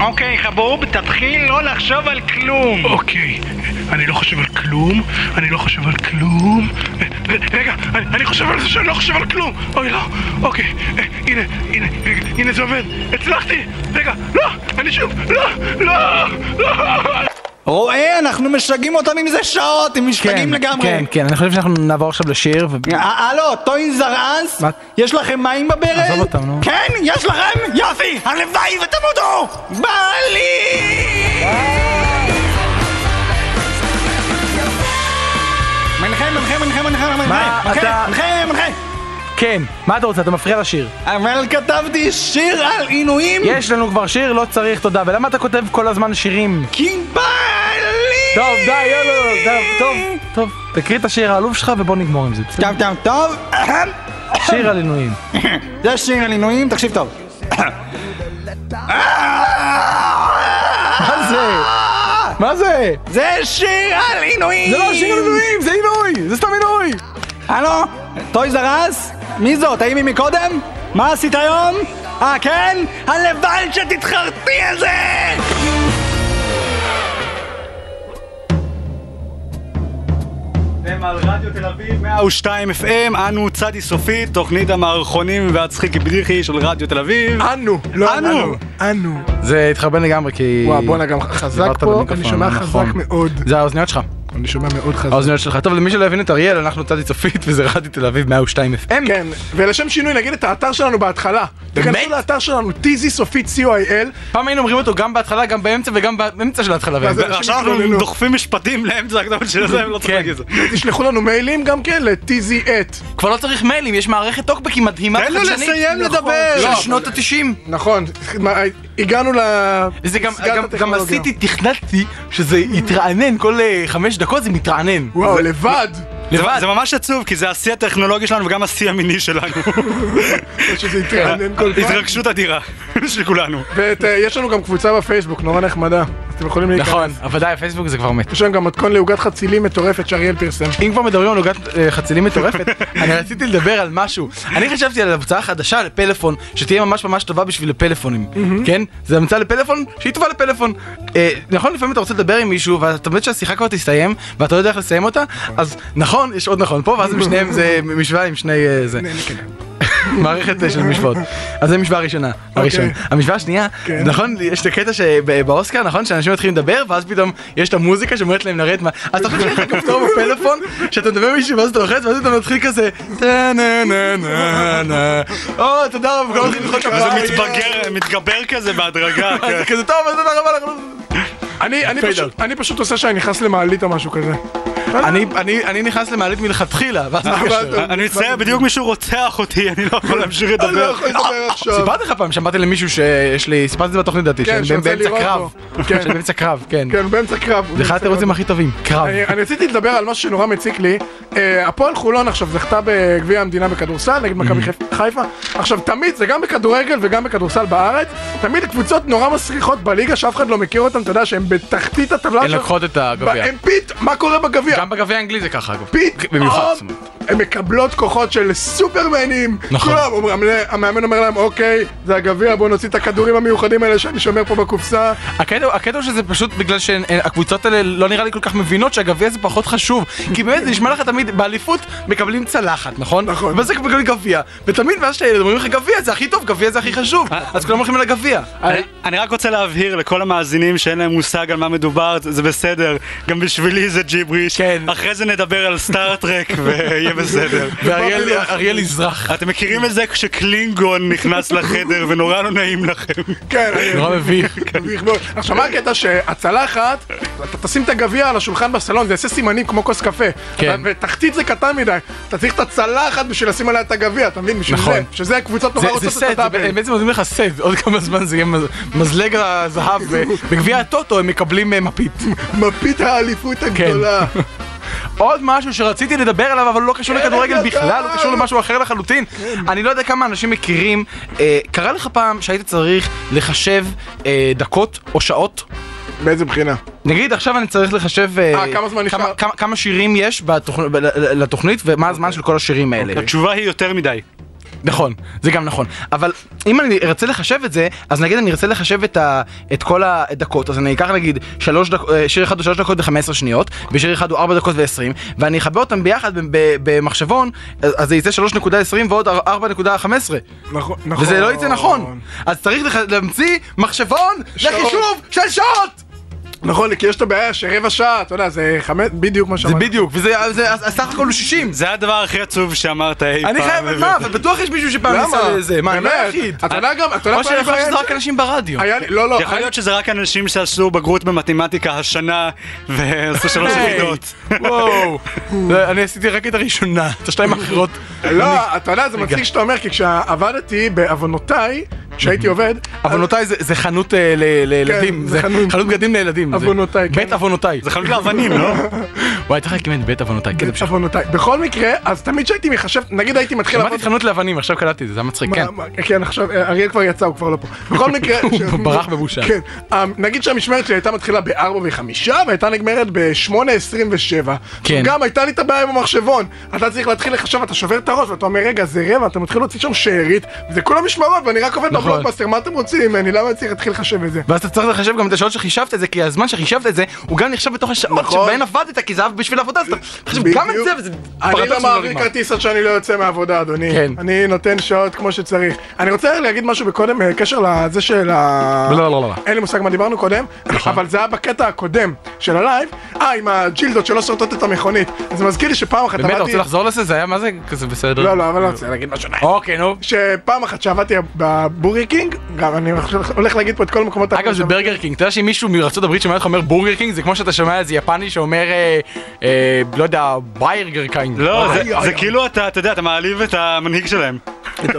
[SPEAKER 5] אוקיי, חבוב, תתחיל לא לחשוב על כלום.
[SPEAKER 4] אוקיי, אני לא חושב על כלום, אני לא חושב על כלום. אה, ר- רגע, אני, אני חושב על זה שאני לא חושב על כלום. אוי, לא, אוקיי, אה, הנה, הנה, רגע, הנה זה עובד. הצלחתי! רגע, לא, אני שוב, לא, לא, לא!
[SPEAKER 5] רואה, אנחנו משגעים אותם עם זה שעות, הם משתגעים לגמרי.
[SPEAKER 1] כן, כן, אני חושב שאנחנו נעבור עכשיו לשיר. ו-
[SPEAKER 5] אה, הלו, טוין זרעס?
[SPEAKER 1] מה?
[SPEAKER 5] יש לכם מים בברז?
[SPEAKER 1] עזוב אותם, נו.
[SPEAKER 5] כן, יש לכם? יופי, הלוואי ותמותו! בא לי! מנחם, מנחם, מנחם, מנחם, מנחם,
[SPEAKER 1] מה
[SPEAKER 5] מנחם,
[SPEAKER 1] אתה-
[SPEAKER 5] מנחם, מנחם.
[SPEAKER 1] כן, מה אתה רוצה? אתה מפריע לשיר.
[SPEAKER 5] אבל כתבתי שיר על עינויים?
[SPEAKER 1] יש לנו כבר שיר, לא צריך תודה. ולמה אתה כותב כל הזמן שירים?
[SPEAKER 5] כי בא לי!
[SPEAKER 1] טוב, די, יאללה, טוב, טוב, טוב. תקריא את השיר העלוב שלך ובוא נגמור עם זה. בסדר?
[SPEAKER 5] טוב, טוב, טוב. אהם.
[SPEAKER 1] שיר על עינויים.
[SPEAKER 5] זה שיר על עינויים, תקשיב טוב.
[SPEAKER 1] מה זה? מה זה?
[SPEAKER 5] זה שיר על עינויים!
[SPEAKER 1] זה לא שיר על עינויים, זה עינוי! זה סתם עינוי!
[SPEAKER 5] הלו? טוי זרז? מי זאת? האם היא מקודם? מה עשית היום? אה, כן? הלוואי שתתחרטי על זה! אתם על רדיו תל אביב 102 FM, אנו צדי סופית, תוכנית המערכונים והצחיק בדיחי של רדיו תל אביב.
[SPEAKER 4] אנו, לא
[SPEAKER 5] אנו.
[SPEAKER 4] אנו, אנו.
[SPEAKER 1] זה התחרבן לגמרי כי...
[SPEAKER 4] וואו, בואנה, גם חזק
[SPEAKER 1] דיברת
[SPEAKER 4] פה,
[SPEAKER 1] במיקרופון,
[SPEAKER 4] אני שומע
[SPEAKER 1] נכון.
[SPEAKER 4] חזק מאוד.
[SPEAKER 1] זה האוזניות שלך.
[SPEAKER 4] אני שומע מאוד חזק.
[SPEAKER 1] האוזניות שלך. טוב, למי שלא הבין את אריאל, אנחנו צדי צופית וזה רדיו תל אביב 102 FM.
[SPEAKER 4] כן, ולשם שינוי נגיד את האתר שלנו בהתחלה. תיכנסו לאתר שלנו, tizy סופית co.il,
[SPEAKER 1] פעם היינו אומרים אותו גם בהתחלה, גם באמצע וגם באמצע של ההתחלה.
[SPEAKER 4] ואז
[SPEAKER 1] והאמצע.
[SPEAKER 4] אנשים
[SPEAKER 11] עכשיו אנחנו
[SPEAKER 4] יתלוננו.
[SPEAKER 11] דוחפים משפטים לאמצע הקדומה של זה, הם לא
[SPEAKER 5] כן.
[SPEAKER 11] צריכים להגיד את זה.
[SPEAKER 4] תשלחו לנו מיילים גם כן ל-tizy at.
[SPEAKER 1] כבר לא צריך מיילים, יש מערכת טוקבקים מדהימה
[SPEAKER 11] תן לו
[SPEAKER 1] וחדשנית.
[SPEAKER 11] לסיים
[SPEAKER 1] נכון.
[SPEAKER 11] לדבר.
[SPEAKER 1] של
[SPEAKER 11] לא, אבל-
[SPEAKER 1] שנות ה-90.
[SPEAKER 4] נכון, מה, הגענו ל...
[SPEAKER 1] זה גם,
[SPEAKER 4] פסגת
[SPEAKER 1] גם, גם
[SPEAKER 4] הטכנולוגיה.
[SPEAKER 1] עשיתי, תכננתי שזה יתרענן, כל אה, חמש דקות זה מתרענן.
[SPEAKER 4] וואו, לבד!
[SPEAKER 1] לבד.
[SPEAKER 11] זה- זה ממש עצוב, כי זה השיא הטכנולוגי שלנו וגם השיא המיני שלנו.
[SPEAKER 4] שזה יתרענן כל פעם.
[SPEAKER 11] התרגשות
[SPEAKER 5] <laughs>
[SPEAKER 11] אדירה של כולנו.
[SPEAKER 4] ויש אה, לנו גם קבוצה בפייסבוק, נורא נחמדה. אז אתם יכולים להיכנס.
[SPEAKER 1] נכון, אבל די, הפייסבוק זה כבר מת.
[SPEAKER 4] יש לנו גם מתכון לעוגת חצילים מטורפת שאריאל פרסם.
[SPEAKER 1] אם כבר מדברים על עוגת אה, חצילים מטורפת, אני רציתי לדבר על משהו. אני חשבתי על המצאה חדשה לפלאפון, שתהיה ממש ממש טובה בשביל לפלאפונים, כן? זה המצאה לפלאפון שהיא טובה לפלאפון. אה, נכון, לפעמים אתה רוצה לדבר עם מישהו, ואתה באמת שהשיחה כבר תסתיים, ואתה לא יודע איך לסיים אותה, אז נכון, יש עוד נכון פה, ואז הם שניהם זה משוואה עם שני אה, זה. <laughs> מערכת אה, של משוואות. אז זו משוואה ראשונה, הראשון. המשוואה השנייה,
[SPEAKER 4] כן.
[SPEAKER 1] נכון, יש את הקטע שבאוסקר, נכון, שאנשים מתחילים לדבר, ואז פתאום יש את המוזיקה שאומרת להם לרדת מה... אז אתה חושב שיש לך כפתור בפלאפון, שאתה מדבר עם מישהו ואז אתה לוחץ, ואז אתה מתחיל כזה... "טה, נה, נה, נה, נה." או, תודה רבה, כולם מתחילים למחוא
[SPEAKER 11] זה
[SPEAKER 1] כפיים.
[SPEAKER 11] מתבגר, מתגבר כזה בהדרגה.
[SPEAKER 1] אז
[SPEAKER 11] כן.
[SPEAKER 1] זה כזה טוב, אז תודה רבה. אנחנו-"
[SPEAKER 4] אני- אני פשוט- אני פשוט עושה שאני נכנס למעלית או משהו כזה.
[SPEAKER 1] אני- אני- אני נכנס למעלית מלכתחילה,
[SPEAKER 4] אה,
[SPEAKER 1] ואז אני מתקשר.
[SPEAKER 11] אני מצטער, בדיוק מישהו רוצח אותי, אני לא יכול להמשיך
[SPEAKER 4] אני לא
[SPEAKER 11] לדבר.
[SPEAKER 4] יכול לדבר עכשיו.
[SPEAKER 1] סיפרתי לך פעם, שמעתי למישהו שיש לי, סיפרתי את זה בתוכנית דעתי,
[SPEAKER 4] כן,
[SPEAKER 1] שאני
[SPEAKER 4] שרוצה
[SPEAKER 1] באמצע
[SPEAKER 4] לראות
[SPEAKER 1] קרב.
[SPEAKER 4] בו. כן.
[SPEAKER 1] שאני באמצע קרב, כן.
[SPEAKER 4] כן, באמצע קרב.
[SPEAKER 1] זה אחד התירוצים הכי טובים, קרב.
[SPEAKER 4] אני אני רציתי לדבר על משהו שנורא מציק לי. אה, הפועל חולון עכשיו זכתה בגביע המדינה בכדורסל נגד
[SPEAKER 1] Mm-hmm.
[SPEAKER 4] מכבי חיפ- חיפה. עכשיו תמיד, זה גם בכדורגל וגם בכדורסל בארץ, תמיד קבוצות נורא מסריחות בליגה שאף אחד לא מכיר אותן, אתה יודע שהן בתחתית הטבלה
[SPEAKER 1] הן לוקחות את הגביע.
[SPEAKER 4] הם פית, מה קורה בגביע? רגע,
[SPEAKER 1] גם בגביע האנגלי זה ככה, אגב. במיוחד, זאת
[SPEAKER 4] פתאום הן מקבלות כוחות של סופרמנים.
[SPEAKER 1] נכון.
[SPEAKER 4] כולם, אומרים, המנ- המאמן אומר להם, אוקיי, זה הגביע, בואו נוציא את הכדורים המיוחדים האלה שאני שומר פה בקופסה.
[SPEAKER 1] הקטע, הקטע הוא שזה פשוט בגלל שהקבוצות האלה לא נראה לי כל כך מבינות שהגביע זה פחות חשוב כי באמת זה נשמע לך תמיד באליפות מקבלים צלחת נכון? נכון ואז מקבלים גביע ותמיד מאז שהילד אומרים לך גביע זה הכי טוב גביע זה הכי חשוב אז כולם הולכים על הגביע
[SPEAKER 5] אני- אני רק רוצה להבהיר לכל המאזינים שאין להם מושג על מה מדובר, זה בסדר, גם בשבילי זה ג'יבריש,
[SPEAKER 1] כן.
[SPEAKER 5] אחרי זה נדבר על סטארט-טרק <laughs> ויהיה בסדר.
[SPEAKER 1] <laughs> ואריאל- אריאל יזרח.
[SPEAKER 5] אתם מכירים את זה כשקלינגון נכנס לחדר ונורא לא נעים לכם.
[SPEAKER 4] כן,
[SPEAKER 1] <laughs>
[SPEAKER 4] <laughs> מביך מאוד. כאילו, עכשיו, מה הקטע שהצלחת, אתה תשים את הגביע על השולחן בסלון, זה יעשה סימנים כמו כוס קפה.
[SPEAKER 1] כן.
[SPEAKER 4] ותחתית זה קטן מדי. אתה צריך את הצלחת בשביל לשים עליה את הגביע, אתה מבין? בשביל
[SPEAKER 1] נכון.
[SPEAKER 4] זה. שזה הקבוצות נורא
[SPEAKER 1] זה, זה
[SPEAKER 4] רוצות
[SPEAKER 1] סט,
[SPEAKER 4] את
[SPEAKER 1] זה
[SPEAKER 4] הדאבל.
[SPEAKER 1] בעצם נותנים לך סט, עוד כמה זמן זה יהיה מז- מזלג <laughs> הזהב, ו- בגביע הטוטו הם מקבלים אה, מפית.
[SPEAKER 4] מפית
[SPEAKER 1] כן.
[SPEAKER 4] האליפות
[SPEAKER 1] <laughs>
[SPEAKER 4] הגדולה.
[SPEAKER 1] עוד משהו שרציתי לדבר עליו, אבל הוא לא קשור
[SPEAKER 4] כן,
[SPEAKER 1] לכדורגל
[SPEAKER 4] אתה-
[SPEAKER 1] בכלל, הוא קשור למשהו אחר לחלוטין.
[SPEAKER 4] כן.
[SPEAKER 1] אני לא יודע כמה אנשים מכירים, אה, קרה לך פעם שהיית צריך לחשב אה, דקות או שעות?
[SPEAKER 4] באיזה בחינה?
[SPEAKER 1] נגיד עכשיו אני צריך לחשב אה,
[SPEAKER 4] אה, כמה זמן נשאר?
[SPEAKER 1] כמה- כמה- כמה שירים יש בתוכנ- ב- ל- לתוכנית ומה הזמן של כל השירים
[SPEAKER 4] אוקיי.
[SPEAKER 1] האלה.
[SPEAKER 5] התשובה היא יותר מדי.
[SPEAKER 1] נכון, זה גם נכון. אבל אם אני ארצה לחשב את זה, אז נגיד אני ארצה לחשב את, ה, את כל הדקות, אז אני אקח נגיד שלוש דק, אה, שיר אחד הוא 3 דקות ו-15 שניות, ושיר אחד הוא 4 דקות ו-20, ואני אחבר אותם ביחד ב- ב- במחשבון, אז אז זה יצא 3.20 ועוד 4.15.
[SPEAKER 4] נכון,
[SPEAKER 1] וזה לא יצא נכון. אז צריך לח- להמציא מחשבון לחישוב של שעות!
[SPEAKER 4] נכון, כי יש את הבעיה שרבע שעה, אתה יודע, זה חמש, בדיוק מה
[SPEAKER 1] זה
[SPEAKER 4] שאמרת.
[SPEAKER 1] בדיוק, וזה אז- אז- אז סך הכל הוא 60.
[SPEAKER 5] זה הדבר הכי עצוב שאמרת אי פעם.
[SPEAKER 1] אני חייב, מה, אבל בטוח יש מישהו שפעם
[SPEAKER 4] למה?
[SPEAKER 1] ניסה לזה, מה, אני לא
[SPEAKER 4] באמת?
[SPEAKER 1] היחיד.
[SPEAKER 4] אתה יודע גם, אתה יודע
[SPEAKER 1] או
[SPEAKER 4] מה
[SPEAKER 1] שיכול
[SPEAKER 4] היה לי
[SPEAKER 1] להיות
[SPEAKER 4] בעיה עם
[SPEAKER 1] שזה רק אנשים ברדיו.
[SPEAKER 4] זה? היה לי, לא, לא.
[SPEAKER 5] יכול להיות שזה רק אנשים שעשו בגרות במתמטיקה השנה ועשו שלוש
[SPEAKER 1] היי,
[SPEAKER 5] יחידות.
[SPEAKER 1] <laughs> וואו, לא, אני עשיתי רק את הראשונה, את השתיים האחרות.
[SPEAKER 4] לא, אתה יודע, זה מצחיק שאתה אומר, כי כשעבדתי בעוונותיי, כשהייתי עובד,
[SPEAKER 1] עוונותיי זה- זה חנות אה, ל- לילדים,
[SPEAKER 4] כן, זה
[SPEAKER 1] זה
[SPEAKER 4] חנות.
[SPEAKER 1] חנות בגדים לילדים. זה
[SPEAKER 4] עוונותיי, כן.
[SPEAKER 1] בית עוונותיי.
[SPEAKER 5] זה חנות לאבנים, לא?
[SPEAKER 1] <laughs> וואי, צריך להקים את בית עוונותיי, כן, זה
[SPEAKER 4] <laughs>
[SPEAKER 1] פשוט.
[SPEAKER 4] עוונותיי. בכל מקרה, אז תמיד כשהייתי מחשב, נגיד הייתי מתחיל
[SPEAKER 1] שמעתי את חנות לאבנים, עכשיו קלטתי את זה, זה היה מצחיק,
[SPEAKER 4] מה-
[SPEAKER 1] כן.
[SPEAKER 4] מה- כן, עכשיו, אה, אריאל כבר יצא, הוא כבר לא פה.
[SPEAKER 1] <laughs>
[SPEAKER 4] בכל מקרה...
[SPEAKER 1] הוא
[SPEAKER 4] ש-
[SPEAKER 1] ברח בבושה.
[SPEAKER 4] כן. אה, נגיד שהמשמרת שלי הייתה מתחילה ב-4.05 והייתה נגמרת ב-8.27.
[SPEAKER 1] כן.
[SPEAKER 4] גם הייתה לי את הבעיה עם המחשבון. אתה צריך להתחיל לחשב, אתה שובר את הראש ואתה אומר, רגע, זה רבע, אתה מתחיל להוציא שם שארית, וזה כולה משמרות, ואני רק עובד
[SPEAKER 1] נכון.
[SPEAKER 4] בבלוקבאסטר, מה אתם רוצים ממני? למה אני צריך להתחיל לחשב את זה?
[SPEAKER 1] ואז אתה צריך לחשב גם את השעות שחישבת את זה, כי הזמן שחישבת את זה, הוא גם נחשב בתוך השעות
[SPEAKER 4] נכון.
[SPEAKER 1] שבהן עבדת, כי זה היה בשביל עבודה, אז אתה חושב גם את
[SPEAKER 4] בדיוק.
[SPEAKER 1] זה, וזה
[SPEAKER 4] אני לא
[SPEAKER 1] פרדוקס לא
[SPEAKER 4] מעביר
[SPEAKER 1] נגמר.
[SPEAKER 4] כרטיס עד שאני לא יוצא מהעבודה, אדוני.
[SPEAKER 1] כן.
[SPEAKER 4] אני נותן שעות כמו שצריך. אני רוצה להגיד משהו בקודם, אה, קשר לזה של ה...
[SPEAKER 1] לא, נכון. לא, לא, לא.
[SPEAKER 4] אין לי מושג מה דיברנו קודם, אבל זה היה בקטע הקודם של הלייב. אה, עם הג'ילדות שלא שורטות את המכונית. אז זה מזכיר לי שפעם אחת
[SPEAKER 1] באמת, אתה
[SPEAKER 4] עבדתי...
[SPEAKER 1] רוצה לחזור לזה? זה היה מה זה כזה בסדר?
[SPEAKER 4] לא, לא, אבל לא רוצה להגיד משהו.
[SPEAKER 1] אוקיי, נו.
[SPEAKER 4] שפעם אחת שעבדתי בבורי קינג, גם אני עכשיו הולך להגיד פה את כל המקומות
[SPEAKER 1] אגב זה ברגר קינג, אתה יודע שאם מישהו מארצות הברית שומע אותך אומר בורגר קינג זה כמו שאתה שומע איזה יפני שאומר אה, אה, לא יודע ביירגר קינג.
[SPEAKER 5] לא, זה- זה כאילו אתה, אתה יודע, אתה מעליב את המנהיג שלהם.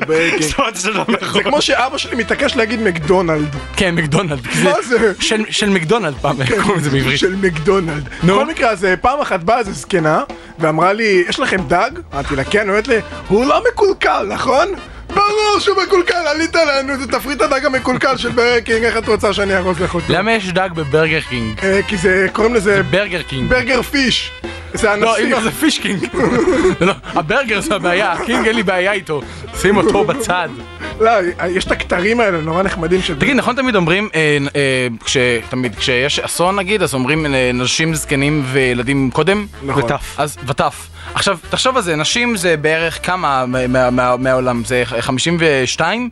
[SPEAKER 4] ברגר.
[SPEAKER 5] <laughs> זאת אומרת, זה לא
[SPEAKER 4] זה
[SPEAKER 5] נכון.
[SPEAKER 4] כמו שאבא שלי מתעקש להגיד מקדונלד.
[SPEAKER 1] כן מקדונלד. כי
[SPEAKER 4] מה זה? כן.
[SPEAKER 1] של- של מקדונלד פעם איך קוראים לזה בעברית.
[SPEAKER 4] של מקדונלד.
[SPEAKER 1] נו.
[SPEAKER 4] בכל מקרה, אז אה, פעם אחת באה איזה זקנה, ואמרה לי, יש לכם דג? אמרתי לה, כן, אומרת לי, הוא לא מקולקל, נכון? ברור שהוא מקולקל, עלית לנו, זה תפריט הדג המקולקל של ברקינג, איך את רוצה שאני ארוז לך אותו?
[SPEAKER 1] למה יש דג בברגר קינג?
[SPEAKER 4] אה, כי זה, קוראים לזה
[SPEAKER 1] ברגר קינג.
[SPEAKER 4] ברגר פיש. זה
[SPEAKER 1] לא, אם
[SPEAKER 4] הנסיך.
[SPEAKER 1] לא זה פיש קינג. <laughs> לא, הברגר זה הבעיה, הקינג אין לי בעיה איתו. שים אותו בצד.
[SPEAKER 4] לא, אה, יש את הכתרים האלה, נורא נחמדים של...
[SPEAKER 1] תגיד, נכון תמיד אומרים, אה, אה, כש- תמיד כשיש אסון נגיד, אז אומרים אה, נשים, זקנים וילדים קודם?
[SPEAKER 4] נכון.
[SPEAKER 1] וטף. אז וטף. עכשיו, תחשוב על זה, נשים זה בערך כמה מה- מה- מה- מהעולם? זה 52,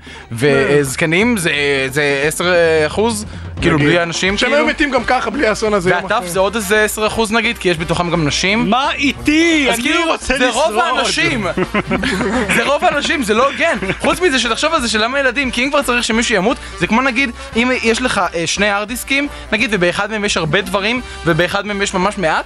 [SPEAKER 1] וזקנים זה- זה 10 אחוז, כאילו
[SPEAKER 4] נגיד.
[SPEAKER 1] בלי הנשים,
[SPEAKER 4] שהם
[SPEAKER 1] כאילו.
[SPEAKER 4] היו מתים גם ככה בלי האסון הזה. יום
[SPEAKER 1] והטף
[SPEAKER 4] אחרי.
[SPEAKER 1] זה עוד איזה 10 אחוז נגיד, כי יש בתוכם גם נשים.
[SPEAKER 5] מה איתי?
[SPEAKER 1] אז
[SPEAKER 5] אני
[SPEAKER 1] כאילו,
[SPEAKER 5] רוצה
[SPEAKER 1] זה
[SPEAKER 5] לשרוד.
[SPEAKER 1] רוב האנשים, זה רוב האנשים, זה לא הוגן. חוץ מזה שתחשוב על זה שלמה ילדים, כי אם כבר צריך שמישהו ימות, זה כמו נגיד, אם יש לך אה, שני הארד דיסקים, נגיד, ובאחד מהם יש הרבה דברים, ובאחד מהם יש ממש מעט,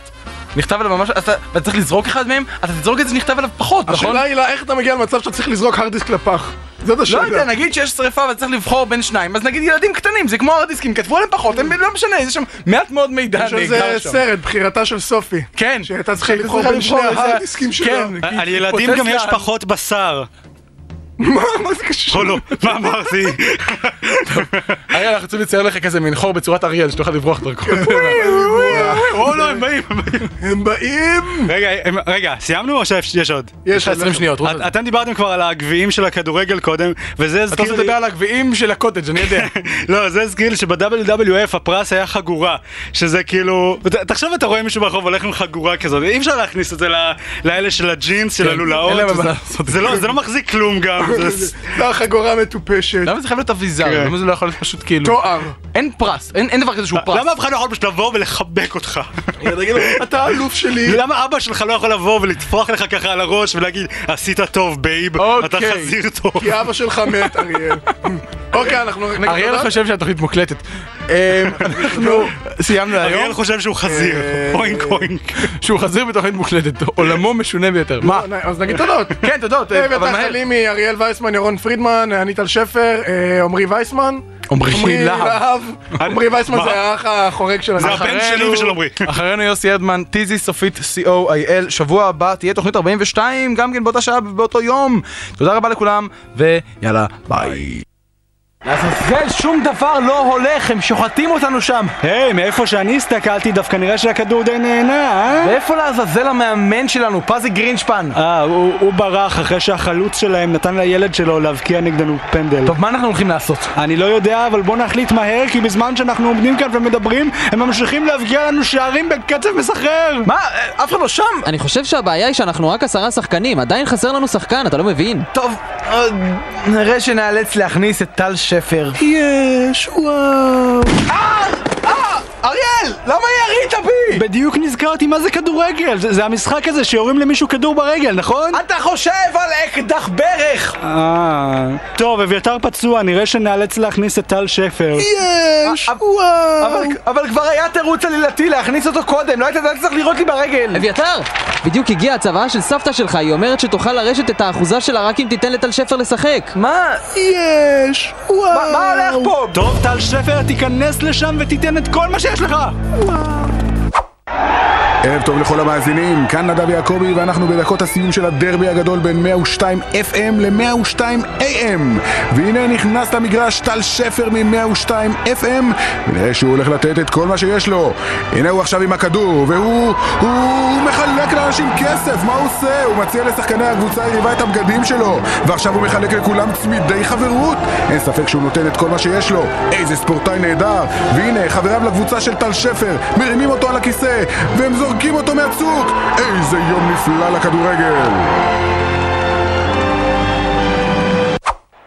[SPEAKER 1] נכתב עליו ממש, אז אתה ואתה צריך לזרוק אחד מהם, אתה תזרוק את זה שנכתב עליו פחות, נכון?
[SPEAKER 4] השאלה היא לה, איך אתה מגיע למצב שאתה צריך לזרוק הארד דיסק לפח? זאת
[SPEAKER 1] לא
[SPEAKER 4] השאלה.
[SPEAKER 1] יודע, נגיד שיש שריפה ואתה צריך לבחור בין שניים, אז נגיד ילדים קטנים, זה כמו הארד דיסקים, כתבו עליהם פחות, הם לא משנה, יש שם מעט מאוד מידע
[SPEAKER 4] יש על
[SPEAKER 1] נאגר
[SPEAKER 4] זה
[SPEAKER 1] שם.
[SPEAKER 4] סרט, בחירתה של סופי.
[SPEAKER 1] כן.
[SPEAKER 4] שהייתה צריכה
[SPEAKER 1] שהייתה
[SPEAKER 4] לבחור
[SPEAKER 1] צריכה
[SPEAKER 4] בין שני
[SPEAKER 1] לבחור איזה-
[SPEAKER 4] ההרדיסקים
[SPEAKER 1] <laughs>
[SPEAKER 4] שלה.
[SPEAKER 1] כן.
[SPEAKER 5] אה, על ילדים גם יש פחות בשר.
[SPEAKER 4] מה, מה זה קשור?
[SPEAKER 5] או לא, מה אמרתי?
[SPEAKER 1] <laughs> אריאל, אנחנו רוצים לצייר לך כזה מין חור בצורת אריאל, שתוכל לברוח דרכו.
[SPEAKER 5] <laughs> או לא, הם באים, הם באים.
[SPEAKER 4] הם באים!
[SPEAKER 5] רגע, הם- רגע, סיימנו או שיש עוד?
[SPEAKER 1] יש לך 20 שניות, רוץ
[SPEAKER 5] את- אתם דיברתם כבר על הגביעים של הכדורגל קודם, וזה הזכיר לי...
[SPEAKER 1] רוצה לדבר על הגביעים של הקוטג', אני יודע.
[SPEAKER 5] <laughs> לא, זה הזכיר לי שב-WWF הפרס היה חגורה, שזה כאילו... ת- תחשוב אתה רואה מישהו ברחוב הולך עם חגורה כזאת, אי אפשר להכניס את זה ל- לאלה של הג'ינס, של
[SPEAKER 4] כן, אין להם
[SPEAKER 5] הלולאות.
[SPEAKER 4] מה
[SPEAKER 5] זה-
[SPEAKER 4] לעשות.
[SPEAKER 5] זה לא- זה לא מחזיק כלום גם.
[SPEAKER 4] <laughs>
[SPEAKER 5] זה-
[SPEAKER 4] זה החגורה מטופשת.
[SPEAKER 1] <laughs> למה זה חייב להיות אביזר?
[SPEAKER 5] כן.
[SPEAKER 1] למה זה לא יכול להיות פשוט כאילו...
[SPEAKER 4] תואר.
[SPEAKER 1] אין פרס, אין אין דבר כזה שהוא פרס.
[SPEAKER 5] למה אף אחד לא יכול פשוט לבוא ולחבק אותך?
[SPEAKER 4] תגיד לו, כאילו, אתה האלוף שלי.
[SPEAKER 5] <laughs> למה אבא שלך לא יכול לבוא ולטפוח לך ככה על הראש ולהגיד, עשית טוב בייב, אתה
[SPEAKER 4] אוקיי.
[SPEAKER 5] חזיר טוב.
[SPEAKER 4] כי אבא שלך מת, אריאל. <laughs> אוקיי, אנחנו... נגיד
[SPEAKER 1] אריאל
[SPEAKER 4] תודה.
[SPEAKER 1] חושב שהתוכנית מוקלטת. אה, אנחנו סיימנו
[SPEAKER 5] אריאל
[SPEAKER 1] היום
[SPEAKER 5] חושב שהוא חזיר,
[SPEAKER 4] אה.
[SPEAKER 5] אוינק אוינק.
[SPEAKER 1] שהוא חזיר בתוכנית מוקלטת, עולמו משונה ביותר. מה?
[SPEAKER 4] אז נגיד תודות.
[SPEAKER 1] <laughs> כן, תודות, אה, אבל
[SPEAKER 4] ואתה
[SPEAKER 1] מהר.
[SPEAKER 4] חלימי, אריאל וייסמן, ירון פרידמן, אני טל שפר, אה, עמרי וייסמן.
[SPEAKER 1] עמרי להב.
[SPEAKER 4] עמרי וייסמן זה האח החורג שלנו.
[SPEAKER 5] זה הבן שלי
[SPEAKER 1] אחרינו-
[SPEAKER 5] ושל עמרי.
[SPEAKER 1] <laughs> אחרינו יוסי אדמן, טיזי סופית co.il, שבוע הבא תהיה תוכנית 42, גם כן באותה שעה ובאותו יום. תודה רבה לכולם, ויאללה, ביי. לעזאזל, שום דבר לא הולך, הם שוחטים אותנו שם.
[SPEAKER 12] היי, מאיפה שאני הסתכלתי, דווקא נראה שהכדור די נהנה, אה?
[SPEAKER 1] ואיפה לעזאזל המאמן שלנו, פזי גרינשפן?
[SPEAKER 12] אה, הוא הוא ברח אחרי שהחלוץ שלהם נתן לילד שלו להבקיע נגדנו פנדל.
[SPEAKER 1] טוב, מה אנחנו הולכים לעשות?
[SPEAKER 12] אני לא יודע, אבל בוא נחליט מהר, כי בזמן שאנחנו עומדים כאן ומדברים, הם ממשיכים להבקיע לנו שערים בקצב מסחרר!
[SPEAKER 1] מה? אה, אף אחד לא שם?
[SPEAKER 7] אני חושב שהבעיה היא שאנחנו רק עשרה שחקנים, עדיין חסר לנו שחקן, אתה לא מבין?
[SPEAKER 1] טוב, אה, נראה שנאלץ להכניס את טל שפר.
[SPEAKER 12] יש, וואו.
[SPEAKER 1] אה, אריאל! למה ירית בי?
[SPEAKER 12] בדיוק נזכרתי מה זה כדורגל, זה, זה המשחק הזה שיורים למישהו כדור ברגל, נכון?
[SPEAKER 1] אתה חושב על אקדח ברך!
[SPEAKER 12] אה... טוב, אביתר פצוע, נראה שנאלץ להכניס את טל שפר.
[SPEAKER 1] יש! אבל כבר היה תירוץ עלילתי להכניס אותו קודם, לא היית היית צריך לירות לי ברגל!
[SPEAKER 7] אביתר! בדיוק הגיעה הצוואה של סבתא שלך, היא אומרת שתוכל לרשת את האחוזה שלה רק אם תיתן לטל שפר לשחק.
[SPEAKER 1] מה?
[SPEAKER 12] יש!
[SPEAKER 1] מה- מה הולך פה?
[SPEAKER 12] טוב, טל שפר, תיכנס לשם ותיתן את כל מה שיש לך!
[SPEAKER 8] ערב טוב לכל המאזינים, כאן נדב יעקבי ואנחנו בדקות הסיום של הדרבי הגדול בין 102 FM ל-102 AM והנה נכנס למגרש טל שפר מ-102 FM ונראה שהוא הולך לתת את כל מה שיש לו הנה הוא עכשיו עם הכדור והוא... הוא, הוא מחלק לאנשים כסף, מה הוא עושה? הוא מציע לשחקני הקבוצה היריבה את הבגדים שלו ועכשיו הוא מחלק לכולם צמידי חברות אין ספק שהוא נותן את כל מה שיש לו איזה ספורטאי נהדר והנה חבריו לקבוצה של טל שפר מרימים אותו על הכיסא והם זורקים אותו מהצוק איזה יום נפלא לכדורגל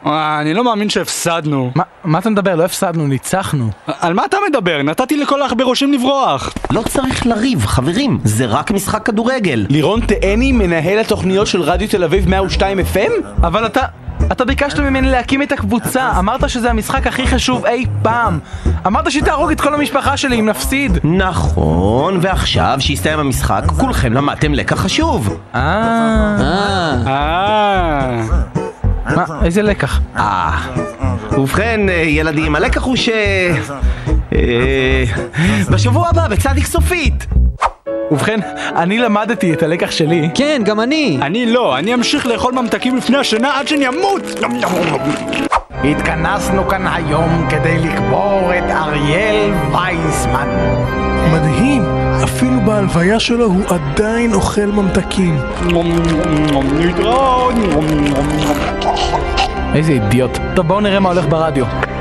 [SPEAKER 12] אה, אני לא מאמין שהפסדנו.
[SPEAKER 1] מה אתה מדבר? לא הפסדנו, ניצחנו.
[SPEAKER 12] על מה אתה מדבר? נתתי לכל העכברושים לברוח.
[SPEAKER 2] לא צריך לריב, חברים, זה רק משחק כדורגל.
[SPEAKER 3] לירון תאני, מנהל התוכניות של רדיו תל אביב 102 FM?
[SPEAKER 1] אבל אתה... אתה ביקשת ממני להקים את הקבוצה, אמרת שזה המשחק הכי חשוב אי פעם. אמרת שתהרוג את כל המשפחה שלי אם נפסיד.
[SPEAKER 2] נכון, ועכשיו שהסתיים המשחק, כולכם למדתם לקח חשוב.
[SPEAKER 1] אה...
[SPEAKER 7] אה...
[SPEAKER 12] אה...
[SPEAKER 1] מה? איזה לקח?
[SPEAKER 2] אה, ובכן, אה, ילדים, הלקח הוא ש... אה, בשבוע הבא, בצדיק סופית!
[SPEAKER 1] ובכן, אני למדתי את הלקח שלי.
[SPEAKER 7] כן, גם אני!
[SPEAKER 12] אני לא, אני אמשיך לאכול ממתקים לפני השינה עד שאני אמות!
[SPEAKER 3] התכנסנו כאן היום כדי לקבור את אריאל וייסמן.
[SPEAKER 13] מדהים, אפילו בהלוויה שלו הוא עדיין אוכל ממתקים.
[SPEAKER 12] להתראות!
[SPEAKER 1] איזה אידיוט. טוב, בואו נראה מה הולך ברדיו.